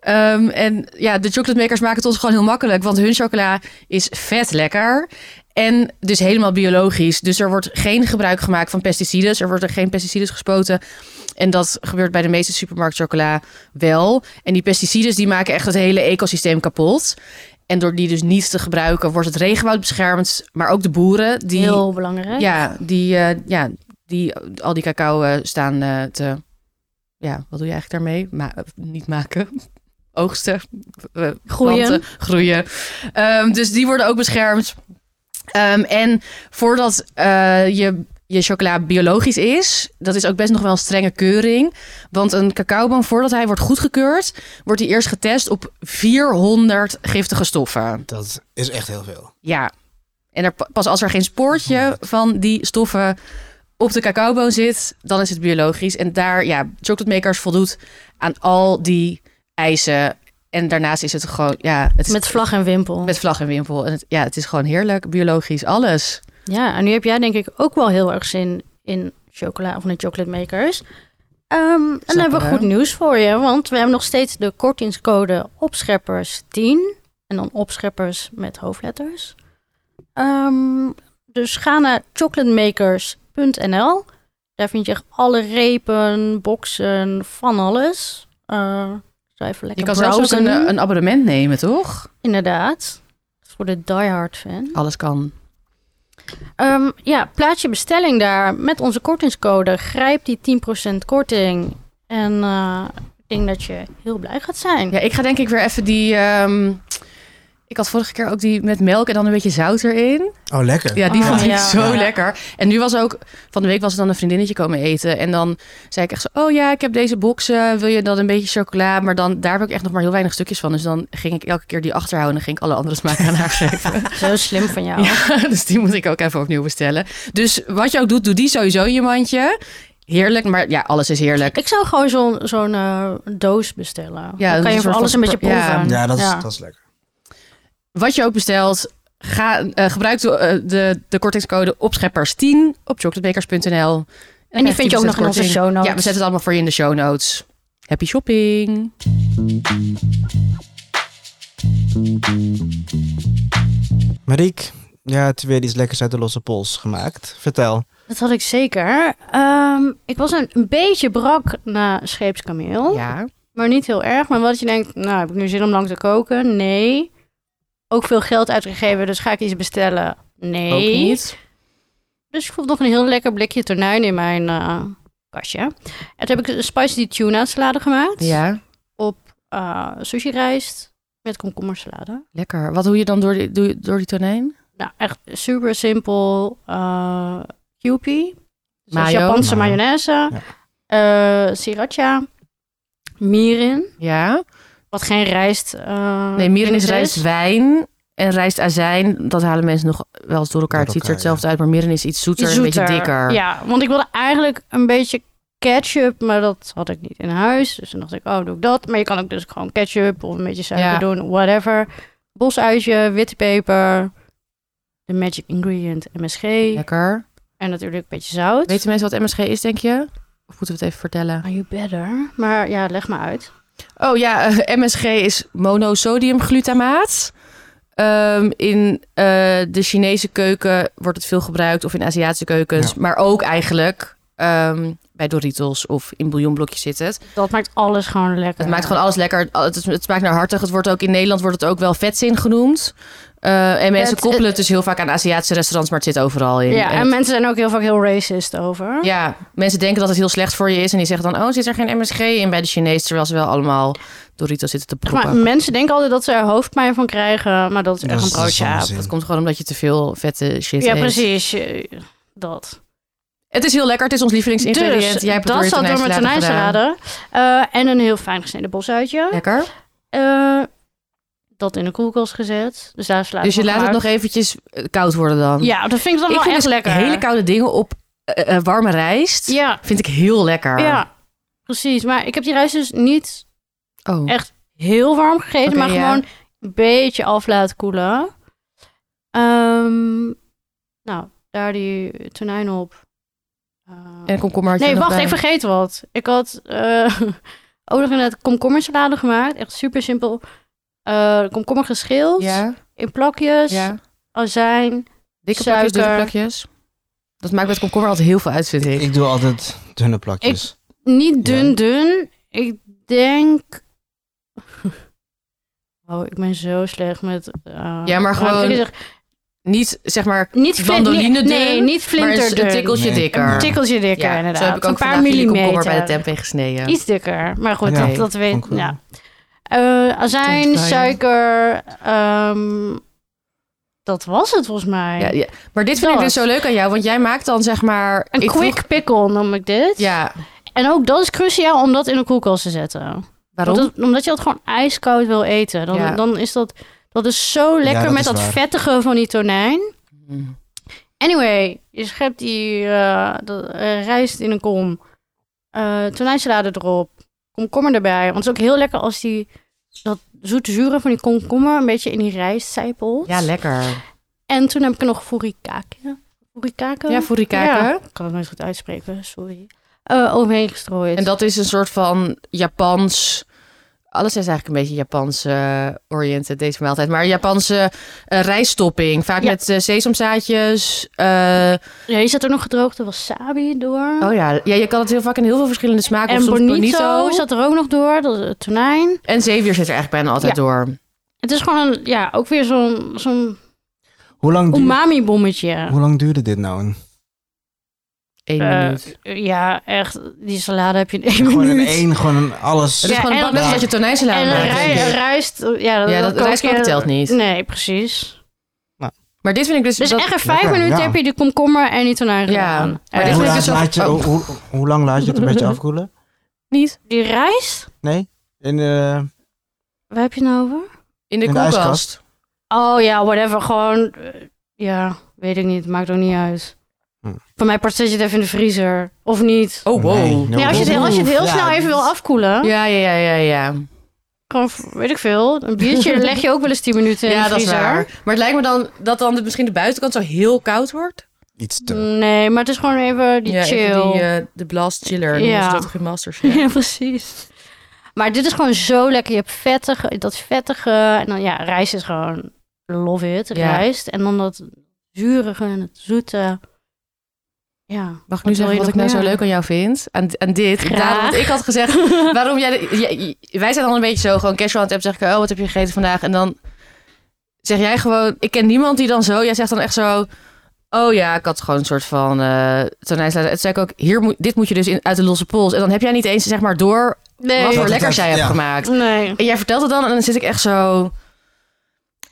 Speaker 1: Ehm, en ja, de chocolate makers maken het ons gewoon heel makkelijk. Want hun chocola is vet lekker. En dus helemaal biologisch. Dus er wordt geen gebruik gemaakt van pesticiden. Er worden geen pesticiden gespoten. En dat gebeurt bij de meeste supermarkt chocola wel. En die pesticiden die maken echt het hele ecosysteem kapot. En door die dus niet te gebruiken, wordt het regenwoud beschermd. Maar ook de boeren die
Speaker 2: Heel belangrijk.
Speaker 1: ja, die, eh, ja, die al die cacao eh, staan eh, te. Ja, wat doe je eigenlijk daarmee? Ma eh, niet maken. Oogsten. eh,
Speaker 2: Groeien.
Speaker 1: planten, groeien. Ehm, dus die worden ook beschermd. Ehm, en voordat eh, je, je chocola biologisch is, dat is ook best nog wel een strenge keuring. Want een cacaoboon, voordat hij wordt goedgekeurd, wordt hij eerst getest op 400 giftige stoffen.
Speaker 3: Dat is echt heel veel.
Speaker 1: Ja. En er, pa- pas als er geen spoortje van die stoffen op de cacaoboon zit, dan is het biologisch. En daar, ja, chocolate makers voldoet aan al die eisen. En daarnaast is het gewoon, ja, het is
Speaker 2: Met vlag en wimpel.
Speaker 1: met vlag en wimpel. En het, ja, het is gewoon heerlijk, biologisch, alles.
Speaker 2: Ja, en nu heb jij denk ik ook wel heel erg zin in chocola of in de chocolate makers. Ehm, en dan hebben we
Speaker 1: hè?
Speaker 2: goed nieuws voor je, want we hebben nog steeds de kortingscode opscheppers 10 en dan opscheppers met hoofdletters. Ehm, dus ga naar chocolatemakers.nl. Daar vind je echt alle repen, boxen, van alles. Eh zou even
Speaker 1: Je kan
Speaker 2: lekker
Speaker 1: zelfs ook een,
Speaker 2: browsen.
Speaker 1: eh, een abonnement nemen, toch?
Speaker 2: Inderdaad. Dat is Voor de diehard fan.
Speaker 1: Alles kan.
Speaker 2: Ehm, ja, plaats je bestelling daar met onze kortingscode. Grijp die 10% korting. En eh, ik denk dat je heel blij gaat zijn.
Speaker 1: Ja, ik ga denk ik weer even die... ehm, ik had vorige keer ook die met melk en dan een beetje zout erin.
Speaker 3: Oh, lekker.
Speaker 1: Ja, die
Speaker 2: Ah,
Speaker 1: vond ik
Speaker 2: ja.
Speaker 1: zo
Speaker 2: Ja.
Speaker 1: lekker. En nu was ook, van de week was er dan een vriendinnetje komen eten. En dan zei ik echt zo, oh ja, ik heb deze boxen. Wil je dan een beetje chocola? Maar dan, daar heb ik echt nog maar heel weinig stukjes van. Dus dan ging ik elke keer die achterhouden. En dan ging ik alle andere smaken aan haar geven.
Speaker 2: Zo slim van jou.
Speaker 1: Ja, dus die moet ik ook even opnieuw bestellen. Dus wat je ook doet, doe die sowieso in je mandje. Heerlijk, maar ja, alles is heerlijk.
Speaker 2: Ik zou gewoon zo'n zo'n, eh, doos bestellen.
Speaker 1: Ja,
Speaker 2: dan
Speaker 1: dat is
Speaker 2: kan je
Speaker 1: een
Speaker 2: voor
Speaker 1: soort
Speaker 2: alles een
Speaker 1: van
Speaker 2: beetje
Speaker 1: pro- ja.
Speaker 2: proeven.
Speaker 3: Ja, dat is, Dat is lekker.
Speaker 1: Wat je ook bestelt, ga, eh, gebruik de, eh, de, de kortingscode opscheppers10 op chocolatemakers.nl.
Speaker 2: En die vind je ook nog in onze
Speaker 1: korting.
Speaker 2: show notes.
Speaker 1: Ja, we zetten het allemaal voor je in de show notes. Happy shopping.
Speaker 3: Mariek, ja, het weer iets lekkers uit de losse pols gemaakt. Vertel.
Speaker 2: Dat had ik zeker. Ehm, ik was een, een beetje brak na scheepskameel.
Speaker 1: Ja.
Speaker 2: Maar niet heel erg. Maar wat je denkt, nou heb ik nu zin om lang te koken? Nee. Ook veel geld uitgegeven, dus ga ik iets bestellen? Nee.
Speaker 1: Ook niet.
Speaker 2: Dus ik vond nog een heel lekker blikje tonijn in mijn eh, kastje. En toen heb ik een spicy tuna salade gemaakt. eh,
Speaker 1: Ja,
Speaker 2: sushi rijst met komkommersalade.
Speaker 1: lekker. Wat doe je dan door die, doe je door die tonijn?
Speaker 2: Nou, echt super simpel. eh Kewpie. Dus dat is
Speaker 1: Mayo.
Speaker 2: Japanse
Speaker 3: Mayo.
Speaker 2: mayonaise. eh sriracha. Mirin.
Speaker 1: Ja.
Speaker 2: Wat geen rijst. eh,
Speaker 1: Nee, mirin
Speaker 2: ding
Speaker 1: is rijstwijn en rijstazijn. Dat halen mensen nog wel eens door elkaar. het
Speaker 3: Door
Speaker 1: ziet er
Speaker 3: elkaar,
Speaker 1: hetzelfde uit, maar mirin is iets zoeter, en een beetje
Speaker 2: Zoeter.
Speaker 1: dikker.
Speaker 2: Ja, want ik wilde eigenlijk een beetje ketchup, maar dat had ik niet in huis. Dus toen dacht ik, oh, doe ik dat. Maar je kan ook dus gewoon ketchup of een beetje suiker
Speaker 1: Ja.
Speaker 2: doen, whatever. Bosuitje, witte peper, de magic ingredient MSG
Speaker 1: Lekker.
Speaker 2: en natuurlijk een beetje zout.
Speaker 1: Weten mensen wat MSG is, denk je? Of moeten we het even vertellen?
Speaker 2: Are you better? Maar ja, leg maar uit.
Speaker 1: Oh ja, eh, MSG is monosodiumglutamaat. Ehm, in eh, de Chinese keuken wordt het veel gebruikt, of in Aziatische keukens,
Speaker 3: Ja.
Speaker 1: maar ook eigenlijk ehm, bij Doritos of in bouillonblokjes zit het.
Speaker 2: Dat maakt alles gewoon lekker.
Speaker 1: Het maakt gewoon alles lekker. Het, het smaakt naar hartig. Het wordt ook in Nederland wordt het ook wel vetzin genoemd. Ehm, Eh, en mensen
Speaker 2: Het-
Speaker 1: koppelen
Speaker 2: het-
Speaker 1: het dus heel vaak aan Aziatische restaurants, maar het zit overal in.
Speaker 2: Ja,
Speaker 1: En
Speaker 2: en mensen zijn ook heel vaak heel racist over.
Speaker 1: Ja, mensen denken dat het heel slecht voor je is. En die zeggen dan, oh, zit er geen MSG in bij de Chinees? Terwijl ze wel allemaal Doritos zitten te
Speaker 2: Zeg maar,
Speaker 1: proppen.
Speaker 2: mensen denken altijd dat ze er hoofdpijn van krijgen, maar dat is echt
Speaker 3: Dat
Speaker 2: een
Speaker 3: is- dat is
Speaker 2: broodje.
Speaker 3: onzin.
Speaker 1: Dat komt gewoon omdat je te veel vette shit
Speaker 2: Ja,
Speaker 1: eet.
Speaker 2: precies. Je- Dat.
Speaker 1: Het is heel lekker. Het is ons lievelingsingrediënt.
Speaker 2: Dus,
Speaker 1: Jij hebt
Speaker 2: dat
Speaker 1: het
Speaker 2: zat door
Speaker 1: tonijnsalade
Speaker 2: mijn
Speaker 1: gedaan.
Speaker 2: tonijnsalade. Eh en een heel fijn gesneden bosuitje.
Speaker 1: Lekker.
Speaker 2: Eh, dat in de koelkast gezet. Dus daar slaat
Speaker 1: Dus je laat het nog eventjes eh, koud worden dan.
Speaker 2: Ja, dat vind ik dan
Speaker 1: ik
Speaker 2: wel
Speaker 1: vind
Speaker 2: echt
Speaker 1: dus
Speaker 2: lekker.
Speaker 1: hele koude dingen op eh, eh, warme rijst.
Speaker 2: Ja,
Speaker 1: Vind ik heel lekker.
Speaker 2: ja, precies. Maar ik heb die rijst dus niet
Speaker 1: Oh.
Speaker 2: Echt heel warm gegeten,
Speaker 1: Oké,
Speaker 2: maar
Speaker 1: ja.
Speaker 2: gewoon een beetje af laten koelen. Ehm, nou, daar die tonijn op. Eh,
Speaker 1: En komkommer had je
Speaker 2: nee,
Speaker 1: er nog
Speaker 2: wacht, ik
Speaker 1: bij.
Speaker 2: vergeet wat. Ik had eh ook nog inderdaad komkommersalade gemaakt. Echt super simpel. Eh, komkommer geschild
Speaker 1: Ja,
Speaker 2: in plakjes,
Speaker 1: ja.
Speaker 2: azijn.
Speaker 1: Dikke
Speaker 2: Dus Suiker.
Speaker 1: plakjes, dunne plakjes. Dat maakt met komkommer altijd heel veel uit, vind ik.
Speaker 3: Ik doe altijd dunne plakjes.
Speaker 2: Niet dun, dun. Ik denk... Oh, ik ben zo slecht met... eh,
Speaker 1: Ja, maar
Speaker 2: waarom
Speaker 1: gewoon-
Speaker 2: jullie
Speaker 1: Niet, zeg maar,
Speaker 2: Niet
Speaker 1: Mandoline
Speaker 2: flinterdun. Nee,
Speaker 1: dun,
Speaker 2: niet
Speaker 1: maar een
Speaker 2: flinterdun.
Speaker 1: een tikkeltje
Speaker 3: Nee.
Speaker 1: dikker.
Speaker 2: Een tikkeltje dikker,
Speaker 1: Ja,
Speaker 2: inderdaad.
Speaker 1: Zo heb ik ook
Speaker 2: een paar
Speaker 1: vandaag jullie
Speaker 2: millimeter.
Speaker 1: komkommer bij de tempeh gesneden.
Speaker 2: Iets dikker, maar goed,
Speaker 3: Ja,
Speaker 2: dat, dat weet
Speaker 3: vond
Speaker 2: ik.
Speaker 3: ik wel.
Speaker 2: Ja. Eh, azijn,
Speaker 1: Stond bij.
Speaker 2: suiker. ehm, dat was het volgens mij.
Speaker 1: Ja, ja. Maar dit vind ik
Speaker 2: Dat.
Speaker 1: dus zo leuk aan jou, want jij maakt dan zeg maar...
Speaker 2: Een
Speaker 1: ik
Speaker 2: quick
Speaker 1: vroeg-
Speaker 2: pickle noem ik dit.
Speaker 1: ja,
Speaker 2: En ook dat is cruciaal om dat in de koelkast te zetten.
Speaker 1: waarom?
Speaker 2: Omdat, omdat je dat gewoon ijskoud wil eten. Dan,
Speaker 1: Ja.
Speaker 2: dan is dat, dat is zo lekker
Speaker 3: dat
Speaker 2: met
Speaker 3: is
Speaker 2: dat
Speaker 3: waar.
Speaker 2: vettige van die tonijn.
Speaker 1: Mm.
Speaker 2: Anyway, je schept die eh, dat, eh, rijst in een kom. eh tonijnsalade erop. Komkommer erbij. Want het is ook heel lekker als die, dat zoete zure van die komkommer een beetje in die rijst zijpelt.
Speaker 1: Ja, lekker.
Speaker 2: En toen heb ik er nog furikake. Furikake?
Speaker 1: Ja, furikake.
Speaker 2: Ja, ik kan het nooit goed uitspreken, sorry. Eh, overheen gestrooid.
Speaker 1: En dat is een soort van Japans... Alles is eigenlijk een beetje Japanse oriënted deze maaltijd. Maar Japanse eh, rijsttopping. Vaak
Speaker 2: Ja.
Speaker 1: met eh, sesamzaadjes. eh,
Speaker 2: Ja, je zet ook nog gedroogde wasabi door.
Speaker 1: oh ja. ja, je kan het heel vaak in heel veel verschillende smaken. of
Speaker 2: en
Speaker 1: soms
Speaker 2: bonito,
Speaker 1: bonito.
Speaker 2: zat er ook nog door. Dat is het tonijn.
Speaker 1: En zeewier zit er eigenlijk bijna altijd door.
Speaker 2: Het is gewoon, een- ja, ook weer zo'n zo'n
Speaker 3: Hoe lang, duur-
Speaker 2: umami-bommetje.
Speaker 3: hoe lang duurde dit nou? Een,
Speaker 1: Eén
Speaker 2: Eh,
Speaker 1: minuut.
Speaker 2: Ja, echt. Die salade heb je in één
Speaker 3: gewoon
Speaker 2: minuut.
Speaker 3: een één, gewoon een alles.
Speaker 1: Het is
Speaker 2: ja,
Speaker 1: gewoon een
Speaker 2: en
Speaker 1: bak met
Speaker 3: dan-
Speaker 1: een beetje tonijnsalade.
Speaker 2: en een
Speaker 1: maakt,
Speaker 2: rij,
Speaker 1: denk ik.
Speaker 2: rijst. Ja, dat,
Speaker 1: Ja, dat,
Speaker 2: kook
Speaker 1: rijstkoken
Speaker 2: je-
Speaker 1: telt niet.
Speaker 2: Nee, precies.
Speaker 1: Maar dit vind ik dus...
Speaker 2: Dus
Speaker 1: dat-
Speaker 2: echt in vijf
Speaker 3: Dus Lekker,
Speaker 2: minuten
Speaker 3: ja.
Speaker 2: heb je die komkommer en die tonijn
Speaker 1: Ja,
Speaker 2: gedaan.
Speaker 1: maar
Speaker 2: Eh,
Speaker 1: dit
Speaker 3: hoe,
Speaker 1: vind ik
Speaker 3: laat
Speaker 1: dus ook-
Speaker 3: laat je,
Speaker 1: oh.
Speaker 3: hoe, hoe- hoe lang laat je het een
Speaker 2: Oh.
Speaker 3: beetje afkoelen?
Speaker 1: niet
Speaker 2: Die rijst,
Speaker 3: Nee? In, eh,
Speaker 2: waar heb je het nou over?
Speaker 1: in de
Speaker 3: In de
Speaker 1: koelkast.
Speaker 3: ijskast.
Speaker 2: Oh ja, whatever. Gewoon, eh, ja, weet ik niet. Maakt ook niet uit.
Speaker 3: Hm.
Speaker 2: Voor mij past je het even in de vriezer. Of niet.
Speaker 1: Oh, wow.
Speaker 3: Nee, no
Speaker 2: Nee, als je het, heel- als je het heel
Speaker 3: Ja,
Speaker 2: snel
Speaker 3: dit
Speaker 2: even
Speaker 3: is-
Speaker 2: wil afkoelen,
Speaker 1: Ja, ja, ja, ja, ja.
Speaker 2: gewoon, weet ik veel, een biertje leg je ook wel eens 10 minuten in
Speaker 1: Ja,
Speaker 2: de
Speaker 1: dat is
Speaker 2: vriezer.
Speaker 1: waar. Maar het lijkt me dan dat dan de- misschien de buitenkant zo heel koud wordt.
Speaker 3: Iets te...
Speaker 2: Nee, maar het is gewoon even die
Speaker 1: ja, even
Speaker 2: chill.
Speaker 1: Die, eh, de blast chiller.
Speaker 2: Ja.
Speaker 1: Ja. Dat toch in masters.
Speaker 2: Ja. precies. Maar dit is gewoon zo lekker. Je hebt vettige, dat vettige. En dan ja, rijst is gewoon love it,
Speaker 1: Ja.
Speaker 2: rijst. En dan dat zurige en het zoete. Ja.
Speaker 1: Mag ik
Speaker 2: wil
Speaker 1: nu
Speaker 2: je
Speaker 1: zeggen wat ik
Speaker 2: nog
Speaker 1: nou zo
Speaker 2: meer?
Speaker 1: leuk aan jou vind? Aan, aan dit.
Speaker 2: Graag.
Speaker 1: Daarom, want ik had gezegd, waarom jij... de- jij- wij zijn dan een beetje zo, gewoon casual aan het app zeggen. Oh, wat heb je gegeten vandaag? En dan zeg jij gewoon... Ik ken niemand die dan zo... Jij zegt dan echt zo... Oh ja, ik had gewoon een soort van eh tonijnsalade. Het zei ik ook, hier moet, dit moet je dus in, uit de losse pols. En dan heb jij niet eens zeg maar door wat
Speaker 2: Nee.
Speaker 1: voor
Speaker 3: het
Speaker 1: lekkers
Speaker 3: uit-
Speaker 1: jij hebt
Speaker 3: ja.
Speaker 1: gemaakt.
Speaker 2: Nee.
Speaker 1: En jij vertelt het dan en dan zit ik echt zo...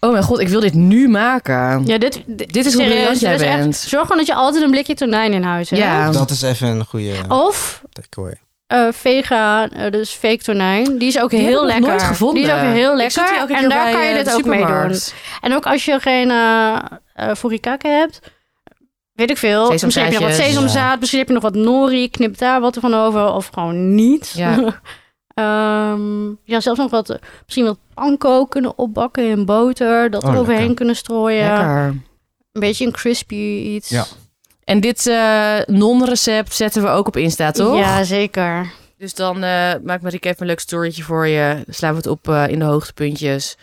Speaker 1: Oh mijn god, ik wil dit nu maken.
Speaker 2: Ja, dit, dit,
Speaker 1: Dit is hoe
Speaker 2: serieus,
Speaker 1: briljant
Speaker 2: dit
Speaker 1: jij
Speaker 2: is echt-
Speaker 1: bent.
Speaker 2: zorg gewoon dat je altijd een blikje tonijn in huis hebt.
Speaker 1: Ja.
Speaker 3: Dat is even een goede
Speaker 2: Of
Speaker 3: takeaway.
Speaker 2: eh, vega, eh, dus fake tonijn. Die is ook
Speaker 1: Die heb ik
Speaker 2: heel
Speaker 1: nog
Speaker 2: lekker.
Speaker 1: nooit gevonden.
Speaker 2: Die is ook heel
Speaker 1: Ik zoek
Speaker 2: lekker.
Speaker 1: die elke
Speaker 2: en
Speaker 1: keer
Speaker 2: daar
Speaker 1: bij,
Speaker 2: kan
Speaker 1: eh,
Speaker 2: je
Speaker 1: de
Speaker 2: dit ook mee doen.
Speaker 1: supermarkt.
Speaker 2: En ook als je geen eh eh, furikake hebt, weet ik veel. Misschien heb je nog wat
Speaker 1: Sesamzaadjes.
Speaker 2: sesamzaad, misschien heb je nog wat nori, knip daar wat van over of gewoon niet.
Speaker 1: Ja.
Speaker 2: Ehm, ja, zelfs nog wat, eh, misschien wat panko kunnen opbakken in boter, dat
Speaker 3: Oh,
Speaker 2: er overheen
Speaker 3: lekker.
Speaker 2: kunnen strooien.
Speaker 1: Lekker.
Speaker 2: Een beetje een crispy iets.
Speaker 3: Ja.
Speaker 1: En dit eh, non-recept zetten we ook op Insta, toch?
Speaker 2: Ja, zeker.
Speaker 1: Dus dan eh maakt Marieke even een leuk storytje voor je. Slaan we het op eh, in de hoogtepuntjes.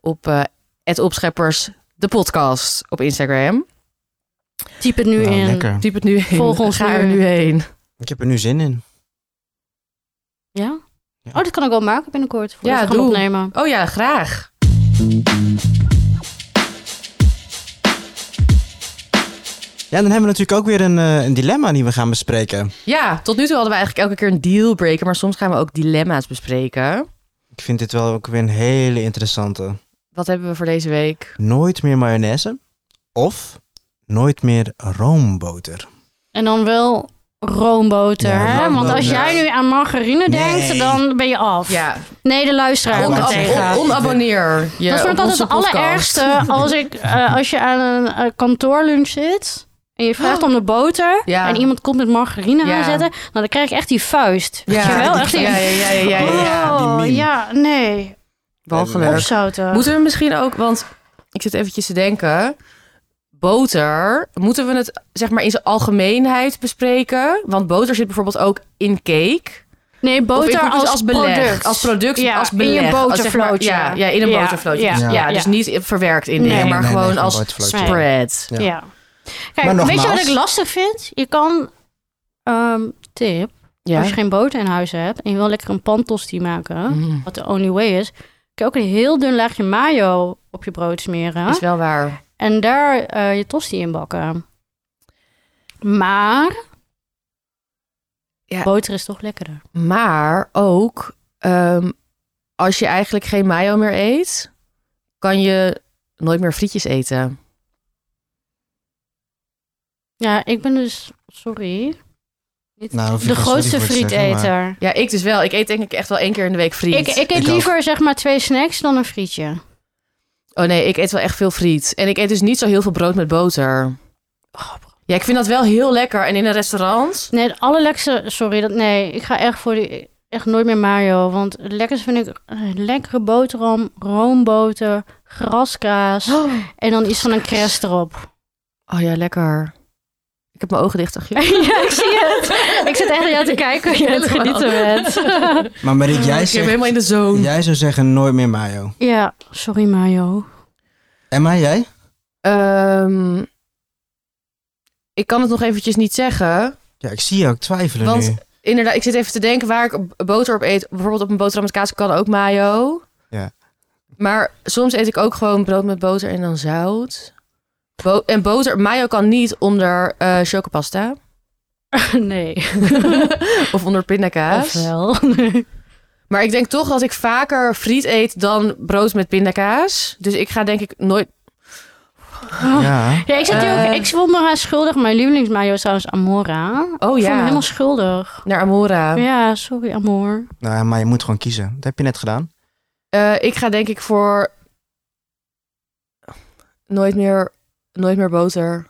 Speaker 1: Op eh het Opscheppers, de podcast op Instagram.
Speaker 2: Typ het nu
Speaker 3: Nou,
Speaker 2: in.
Speaker 3: lekker.
Speaker 1: Typ het nu in.
Speaker 2: Volg ons
Speaker 1: Ga er
Speaker 2: nu.
Speaker 1: nu heen.
Speaker 3: Ik heb er nu zin in.
Speaker 2: Ja?
Speaker 3: Ja.
Speaker 2: Oh, dat kan ik wel maken binnenkort. Voor
Speaker 1: Oh Ja,
Speaker 2: ja, we gaan
Speaker 1: doe.
Speaker 2: opnemen.
Speaker 1: Oh ja, graag.
Speaker 3: Ja, dan hebben we natuurlijk ook weer een, eh, een dilemma die we gaan bespreken.
Speaker 1: Ja, tot nu toe hadden we eigenlijk elke keer een dealbreaker, maar soms gaan we ook dilemma's bespreken.
Speaker 3: Ik vind dit wel ook weer een hele interessante.
Speaker 1: Wat hebben we voor deze week?
Speaker 3: Nooit meer mayonaise of nooit meer roomboter.
Speaker 2: En dan wel roomboter.
Speaker 3: Ja,
Speaker 2: hè? Want
Speaker 3: roomboter.
Speaker 2: als jij nu aan margarine
Speaker 3: Nee.
Speaker 2: denkt, dan ben je af.
Speaker 1: Ja,
Speaker 2: Nee, de luisteraar
Speaker 3: Oh,
Speaker 2: komt
Speaker 3: maar-
Speaker 2: tegen.
Speaker 3: oh,
Speaker 1: onab-
Speaker 3: oh.
Speaker 1: on- onabonneer. je
Speaker 2: dat
Speaker 1: op
Speaker 2: vond ik altijd
Speaker 1: onze
Speaker 2: het
Speaker 1: podcast.
Speaker 2: allerergste als, ik, eh, als je aan een eh, kantoorlunch zit en je vraagt om de boter
Speaker 1: Oh. Ja.
Speaker 2: en iemand komt met margarine
Speaker 1: Ja.
Speaker 2: aanzetten, nou, dan krijg ik echt die vuist.
Speaker 1: Ja.
Speaker 2: Weet je wel?
Speaker 1: die-
Speaker 2: Echt die,
Speaker 1: ja, ja, ja, ja, ja, ja.
Speaker 3: ja, die
Speaker 2: Oh,
Speaker 3: meme.
Speaker 2: ja, nee.
Speaker 1: Walgelijk.
Speaker 2: Opzouten.
Speaker 1: Moeten we misschien ook, want ik zit eventjes te denken. Boter, moeten we het zeg maar in zijn algemeenheid bespreken? Want boter zit bijvoorbeeld ook in cake.
Speaker 2: nee,
Speaker 1: Of in
Speaker 2: boter
Speaker 1: cookies
Speaker 2: als,
Speaker 1: beleg.
Speaker 2: product.
Speaker 1: Als product,
Speaker 2: Ja,
Speaker 1: als
Speaker 2: in
Speaker 1: beleg.
Speaker 2: je
Speaker 1: Als zeg maar-
Speaker 2: botervlootje.
Speaker 1: ja, ja, in een
Speaker 2: Ja,
Speaker 1: botervlootje. Ja,
Speaker 2: ja,
Speaker 3: ja.
Speaker 1: dus
Speaker 2: ja.
Speaker 1: niet verwerkt in
Speaker 2: Nee.
Speaker 1: dingen, maar
Speaker 3: Nee, nee,
Speaker 1: gewoon
Speaker 3: geen
Speaker 1: als
Speaker 3: botervlootje.
Speaker 2: Nee.
Speaker 1: spread.
Speaker 3: Ja.
Speaker 2: Ja. Kijk,
Speaker 3: Maar
Speaker 2: weet je wat
Speaker 3: nogmaals-
Speaker 2: ik lastig vind? Je kan, ehm, tip,
Speaker 1: Ja.
Speaker 2: als je geen boter in huis hebt en je wil lekker een pantosti maken,
Speaker 1: Mm,
Speaker 2: wat de only way is, kun je ook een heel dun laagje mayo op je brood smeren
Speaker 1: Is wel waar.
Speaker 2: en daar eh, je tosti in bakken. Maar
Speaker 1: Ja.
Speaker 2: boter is toch lekkerder.
Speaker 1: Maar ook, ehm, als je eigenlijk geen mayo meer eet, kan je nooit meer frietjes eten.
Speaker 2: Ja, ik ben dus, sorry, niet
Speaker 3: Nou, hoef je
Speaker 2: de
Speaker 3: geen sorry
Speaker 2: grootste
Speaker 3: voor te zeggen,
Speaker 2: frieteter.
Speaker 1: Ja, ik dus wel. Ik eet denk ik echt wel één keer in de week friet.
Speaker 2: Ik, ik eet
Speaker 3: Ik ook.
Speaker 2: liever zeg maar twee snacks dan een frietje.
Speaker 1: Oh nee, ik eet wel echt veel friet. En ik eet dus niet zo heel veel brood met boter.
Speaker 2: Oh,
Speaker 1: Ja, ik vind dat wel heel lekker. En in een restaurant?
Speaker 2: Nee, het allerlekkerste... Sorry, dat, nee. Ik ga echt voor die... Echt nooit meer mayo. Want het lekkerste vind ik eh, lekkere boterham, roomboter, graskaas. En dan iets van een crest erop.
Speaker 1: Oh ja, lekker. Ik heb mijn ogen dicht, dacht je?
Speaker 2: ja, ik zie het. Ik zit echt naar jou te kijken hoe je aan het genieten bent.
Speaker 3: Maar Marik,
Speaker 2: Ah,
Speaker 1: ik
Speaker 3: jij,
Speaker 1: heb
Speaker 3: zegt,
Speaker 1: helemaal in de zone.
Speaker 3: jij zou zeggen nooit meer mayo.
Speaker 2: ja, sorry mayo.
Speaker 3: Emma, jij?
Speaker 1: Ehm, ik kan het nog eventjes niet zeggen.
Speaker 3: Ja, ik zie je ook twijfelen
Speaker 1: Want-
Speaker 3: nu.
Speaker 1: Inderdaad, ik zit even te denken waar ik b- boter op eet. Bijvoorbeeld op een boterham met kaas kan ook mayo.
Speaker 3: Ja.
Speaker 1: Maar soms eet ik ook gewoon brood met boter en dan zout. Bo- en boter, mayo kan niet onder eh chocopasta.
Speaker 2: nee.
Speaker 1: of onder pindakaas.
Speaker 2: Ofwel.
Speaker 1: Maar ik denk toch dat ik vaker friet eet dan brood met pindakaas. Dus ik ga denk ik nooit... Oh.
Speaker 3: Ja.
Speaker 2: Ja, ik zit hier
Speaker 1: Eh.
Speaker 2: ook... Ik voel me haar schuldig. Mijn lievelingsmayo is trouwens Amora.
Speaker 1: Oh
Speaker 2: Ik voel me
Speaker 1: ja,
Speaker 2: helemaal schuldig.
Speaker 1: naar Amora.
Speaker 2: Ja, sorry Amor.
Speaker 3: Nou, maar je moet gewoon kiezen. Dat heb je net gedaan.
Speaker 1: Eh, ik ga denk ik voor... Nooit meer, nooit meer boter.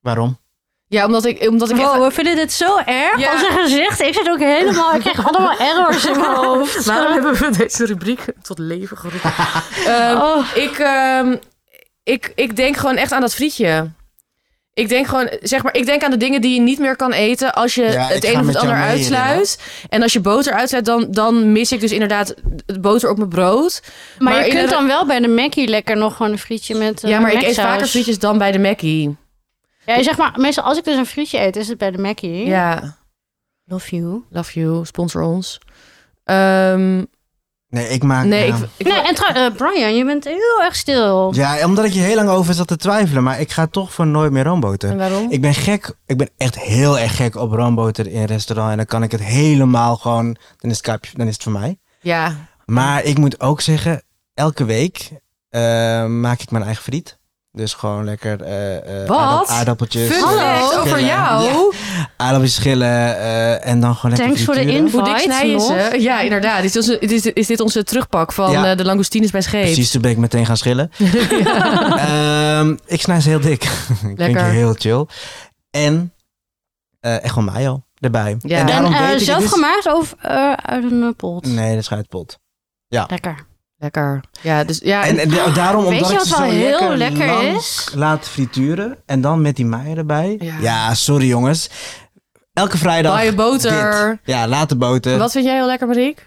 Speaker 3: Waarom?
Speaker 1: Ja, omdat ik, omdat ik
Speaker 2: Wow,
Speaker 1: echt...
Speaker 2: we vinden dit zo erg.
Speaker 1: Ja.
Speaker 2: Als een gezicht. Ik zit ook helemaal. Ik krijg allemaal errors in mijn hoofd.
Speaker 1: hebben we deze rubriek tot leven geroepen?
Speaker 2: Oh,
Speaker 1: ik, ehm, ik, ik denk gewoon echt aan dat frietje. Ik denk gewoon, zeg maar, ik denk aan de dingen die je niet meer kan eten als je
Speaker 3: Ja,
Speaker 1: het
Speaker 3: ik
Speaker 1: een
Speaker 3: ga
Speaker 1: of het
Speaker 3: met jou
Speaker 1: ander
Speaker 3: mee hierin,
Speaker 1: uitsluit. En als je boter uitsluit, dan, dan mis ik dus inderdaad de boter op mijn brood.
Speaker 2: maar,
Speaker 1: Maar
Speaker 2: je
Speaker 1: in
Speaker 2: kunt
Speaker 1: de-
Speaker 2: dan wel bij de Mackie lekker nog gewoon een frietje met. eh,
Speaker 1: ja, maar ik eet
Speaker 2: Macsaus.
Speaker 1: vaker frietjes dan bij de Mackie.
Speaker 2: Ja, zeg maar, meestal als ik dus een frietje eet, is het bij de Mackie.
Speaker 1: Ja,
Speaker 2: Love you.
Speaker 1: love you, sponsor ons. Ehm,
Speaker 3: Nee, ik maak...
Speaker 1: nee,
Speaker 3: ja.
Speaker 1: ik, ik-
Speaker 2: Nee, en trouw- eh, Brian, je bent heel erg stil.
Speaker 3: Ja, omdat ik je heel lang over zat te twijfelen. Maar ik ga toch voor nooit meer roomboter.
Speaker 1: En waarom?
Speaker 3: Ik ben gek. Ik ben echt heel erg gek op roomboter in een restaurant. En dan kan ik het helemaal gewoon... Dan is het, kaapje, dan is het voor mij.
Speaker 1: ja,
Speaker 3: Maar ik moet ook zeggen, elke week eh, maak ik mijn eigen friet. Dus gewoon lekker eh, eh,
Speaker 1: Wat?
Speaker 3: aardapp- aardappeltjes.
Speaker 1: Fun
Speaker 3: eh,
Speaker 1: fact
Speaker 3: schillen.
Speaker 1: over jou.
Speaker 3: Ja, aardappeltjes schillen eh, en dan gewoon lekker
Speaker 2: Thanks voor de
Speaker 3: frituren.
Speaker 2: info.
Speaker 1: Hoe dik
Speaker 2: White
Speaker 1: snijden
Speaker 2: nog?
Speaker 1: ze? Ja, inderdaad. Is dit onze, is dit, is dit onze terugpak van
Speaker 3: Ja.
Speaker 1: eh, de langoustines bij Scheep?
Speaker 3: Precies, toen ben ik meteen gaan schillen. Ehm, ik snij ze heel dik. ik vind
Speaker 1: Lekker.
Speaker 3: het heel chill. En eh, echt gewoon mayo erbij.
Speaker 1: Ja.
Speaker 3: En
Speaker 2: En
Speaker 3: daarom
Speaker 2: eh,
Speaker 3: weet ik,
Speaker 2: zelf
Speaker 3: dit is-
Speaker 2: gemaakt of eh, uit een eh, pot?
Speaker 3: Nee, dat is uit pot.
Speaker 2: Lekker.
Speaker 1: Lekker. Ja, dus ja,
Speaker 3: En, en da- daarom,
Speaker 2: Ah, Weet
Speaker 3: omdat
Speaker 2: je
Speaker 3: ik
Speaker 2: wat
Speaker 3: ze zo
Speaker 2: wel heel
Speaker 3: lekker,
Speaker 2: lekker
Speaker 3: lang
Speaker 2: is?
Speaker 3: laat frituren en dan met die mayo erbij.
Speaker 1: Ja.
Speaker 3: Ja, sorry jongens. Elke vrijdag.
Speaker 1: Baie boter.
Speaker 3: dit. Eh. Ja, laat de boter.
Speaker 1: Wat vind jij heel lekker, Mariek?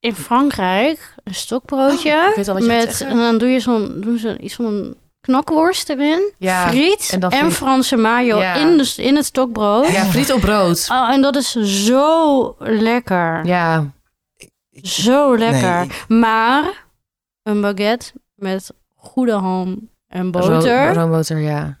Speaker 2: In Frankrijk, een stokbroodje.
Speaker 1: Oh, ik weet al wat je gaat
Speaker 2: met,
Speaker 1: zeggen.
Speaker 2: en dan doe je zo'n, doen ze iets van een knakworst erin.
Speaker 1: Ja.
Speaker 2: friet
Speaker 1: en
Speaker 2: en,
Speaker 1: dan friet.
Speaker 2: Franse mayo
Speaker 1: Ja.
Speaker 2: in, de, in het stokbrood.
Speaker 1: Ja, friet op brood.
Speaker 2: Oh, en dat is zo lekker.
Speaker 1: Ja.
Speaker 2: Zo lekker.
Speaker 3: ik-
Speaker 2: Maar een baguette met goede ham En boter.
Speaker 1: Ro- roomboter, ja.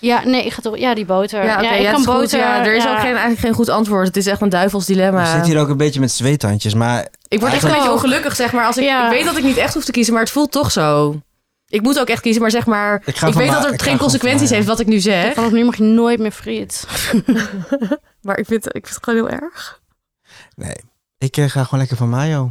Speaker 2: Ja, nee, ik ga toch... Ja, die boter. Ja,
Speaker 1: oké,
Speaker 2: ik
Speaker 1: het
Speaker 2: kan
Speaker 1: is goed,
Speaker 2: boter...
Speaker 1: ja. Er is
Speaker 2: ja.
Speaker 1: ook geen, eigenlijk geen goed antwoord. Het is echt een duivels
Speaker 3: We
Speaker 1: dilemma.
Speaker 3: zitten hier ook een beetje met zweethandjes, maar
Speaker 1: Ik word echt een
Speaker 3: Eigenlijk-
Speaker 1: beetje ongelukkig, zeg maar. Als ik,
Speaker 2: Ja.
Speaker 1: ik weet dat ik niet echt hoef te kiezen, maar het voelt toch zo. Ik moet ook echt kiezen, maar zeg maar...
Speaker 3: ik ga
Speaker 1: Ik
Speaker 3: van
Speaker 1: weet
Speaker 3: Ma-
Speaker 1: dat
Speaker 3: ik
Speaker 1: het
Speaker 3: ga
Speaker 1: geen
Speaker 3: gewoon
Speaker 1: consequenties
Speaker 3: van
Speaker 1: heeft wat ik nu zeg.
Speaker 2: Vanaf nu mag je nooit meer friet.
Speaker 1: Maar ik vind, ik vind het gewoon heel erg.
Speaker 3: mayo. Nee, ik eh, ga gewoon lekker van mayo.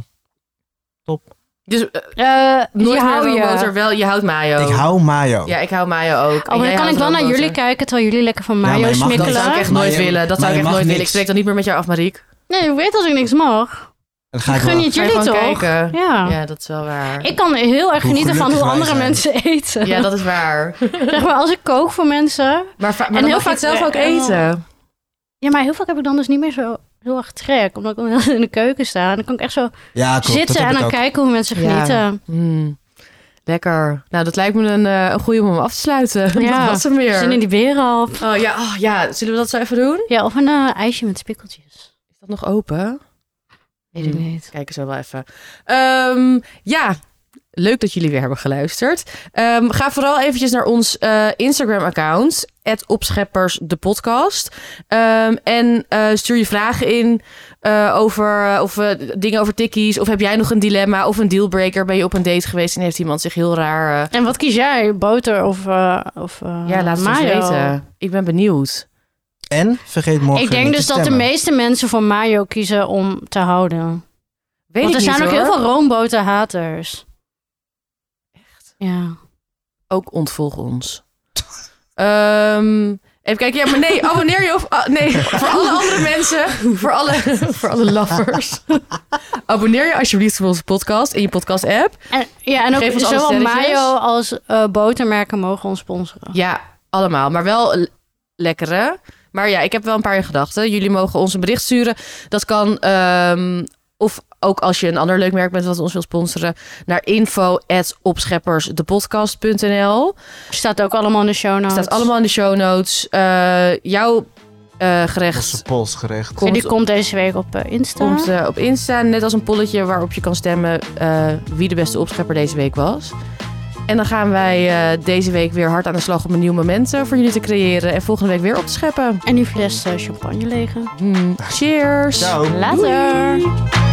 Speaker 1: Dus eh,
Speaker 2: Eh
Speaker 1: nooit
Speaker 2: die hou
Speaker 1: meer
Speaker 2: je.
Speaker 1: roomboter, wel, je houdt mayo.
Speaker 3: Ik hou mayo.
Speaker 1: Oh. Ja, ik hou mayo ook. En
Speaker 2: Oh, maar
Speaker 1: jij
Speaker 2: dan kan
Speaker 1: houdt
Speaker 2: ik wel naar
Speaker 1: roomboter.
Speaker 2: jullie kijken terwijl jullie lekker van
Speaker 3: maar je
Speaker 2: mayo
Speaker 3: mag niet.
Speaker 1: Dat zou ik
Speaker 2: smikkelen.
Speaker 1: echt
Speaker 3: Maar
Speaker 1: nooit
Speaker 3: je-
Speaker 1: willen. Dat
Speaker 3: maar
Speaker 1: zou ik
Speaker 3: je
Speaker 1: echt
Speaker 3: mag
Speaker 1: nooit willen. Ik
Speaker 3: niks.
Speaker 1: spreek dan niet meer met jou af, Mariek.
Speaker 2: Nee, ik weet dat ik niks mag.
Speaker 3: Dan ga
Speaker 2: Ik
Speaker 3: ik
Speaker 2: gun
Speaker 3: wel-
Speaker 2: je het
Speaker 1: Ga je
Speaker 2: jullie toch?
Speaker 1: gewoon kijken.
Speaker 2: Ja.
Speaker 1: Ja, dat is wel waar.
Speaker 2: Ik kan heel erg
Speaker 3: Hoe
Speaker 2: genieten van hoe
Speaker 3: gelukkig wij
Speaker 2: andere
Speaker 3: zijn.
Speaker 2: mensen eten.
Speaker 1: Ja, dat is waar.
Speaker 2: Zeg maar, als ik kook voor mensen...
Speaker 1: Maar, va- maar dan
Speaker 2: heel
Speaker 1: mag je
Speaker 2: vaak-
Speaker 1: het zelf ook
Speaker 2: eh, eh,
Speaker 1: eten.
Speaker 2: Ja, maar heel vaak heb ik dan dus niet meer zo heel erg trek. Omdat ik dan heel in de keuken sta. En dan kan ik echt zo
Speaker 3: Ja, klopt. dat
Speaker 2: zitten
Speaker 3: heb
Speaker 2: en
Speaker 3: ik
Speaker 2: dan
Speaker 3: ook.
Speaker 2: kijken hoe mensen
Speaker 1: Ja.
Speaker 2: genieten.
Speaker 1: Hmm. Lekker. Nou, dat lijkt me een, eh, een goede om hem af te sluiten.
Speaker 2: Ja.
Speaker 1: Dat was hem weer.
Speaker 2: Zin in die berenhap.
Speaker 1: Oh ja, oh ja, zullen we dat zo even doen?
Speaker 2: Ja, of een eh, ijsje met spikkeltjes.
Speaker 1: Is dat nog open?
Speaker 2: Weet ik
Speaker 1: Hmm.
Speaker 2: niet.
Speaker 1: Kijken zo wel even. Ehm, ja, leuk dat jullie weer hebben geluisterd. Ehm, ga vooral eventjes naar ons eh, Instagram-account, opscheppers de podcast. Ehm, en eh, stuur je vragen in eh, over eh, of, eh, dingen over tikkies. Of heb jij nog een dilemma of een dealbreaker? Ben je op een date geweest en heeft iemand zich heel raar... eh,
Speaker 2: En wat kies jij? Boter of, eh of eh,
Speaker 1: ja, laat het ons
Speaker 2: mayo?
Speaker 1: weten. Ik ben benieuwd.
Speaker 3: En vergeet morgen
Speaker 2: Ik denk
Speaker 3: niet
Speaker 2: dus
Speaker 3: te
Speaker 2: dat de
Speaker 3: stemmen.
Speaker 2: meeste mensen voor mayo kiezen om te houden.
Speaker 1: Weet
Speaker 2: Want
Speaker 1: ik
Speaker 2: er
Speaker 1: niet,
Speaker 2: zijn ook
Speaker 1: hoor.
Speaker 2: heel veel roomboterhaters. Echt? Ja.
Speaker 1: ook ontvolg ons. Ehm, even kijken. Ja, maar nee, abonneer je op... ah, nee, voor alle andere mensen. Voor alle, voor alle laffers. Abonneer je alsjeblieft voor onze podcast in je podcast-app.
Speaker 2: En, ja, en
Speaker 1: Geef
Speaker 2: ook
Speaker 1: ons alle
Speaker 2: zowel
Speaker 1: sterretjes.
Speaker 2: mayo als eh, botermerken mogen ons sponsoren.
Speaker 1: Ja, allemaal. Maar wel l- lekkere. Maar ja, ik heb wel een paar in gedachten. Jullie mogen ons een bericht sturen. Dat kan... ehm, of ook als je een ander leuk merk bent wat ons wil sponsoren... naar info.opscheppersdepodcast.nl
Speaker 2: Staat ook allemaal in de show notes.
Speaker 1: staat allemaal in de show notes. Eh, jouw eh, gerecht
Speaker 3: Losse pols gerecht.
Speaker 2: En
Speaker 1: komt,
Speaker 2: die komt deze week op eh, Insta.
Speaker 1: komt, eh, op Insta. Net als een polletje waarop je kan stemmen eh, wie de beste opschepper deze week was. En dan gaan wij eh, deze week weer hard aan de slag om een nieuw moment eh, voor jullie te creëren. En volgende week weer op te scheppen.
Speaker 2: En die fles eh, champagne legen.
Speaker 1: Hmm, Cheers!
Speaker 3: Ciao.
Speaker 2: Later.
Speaker 1: Doei.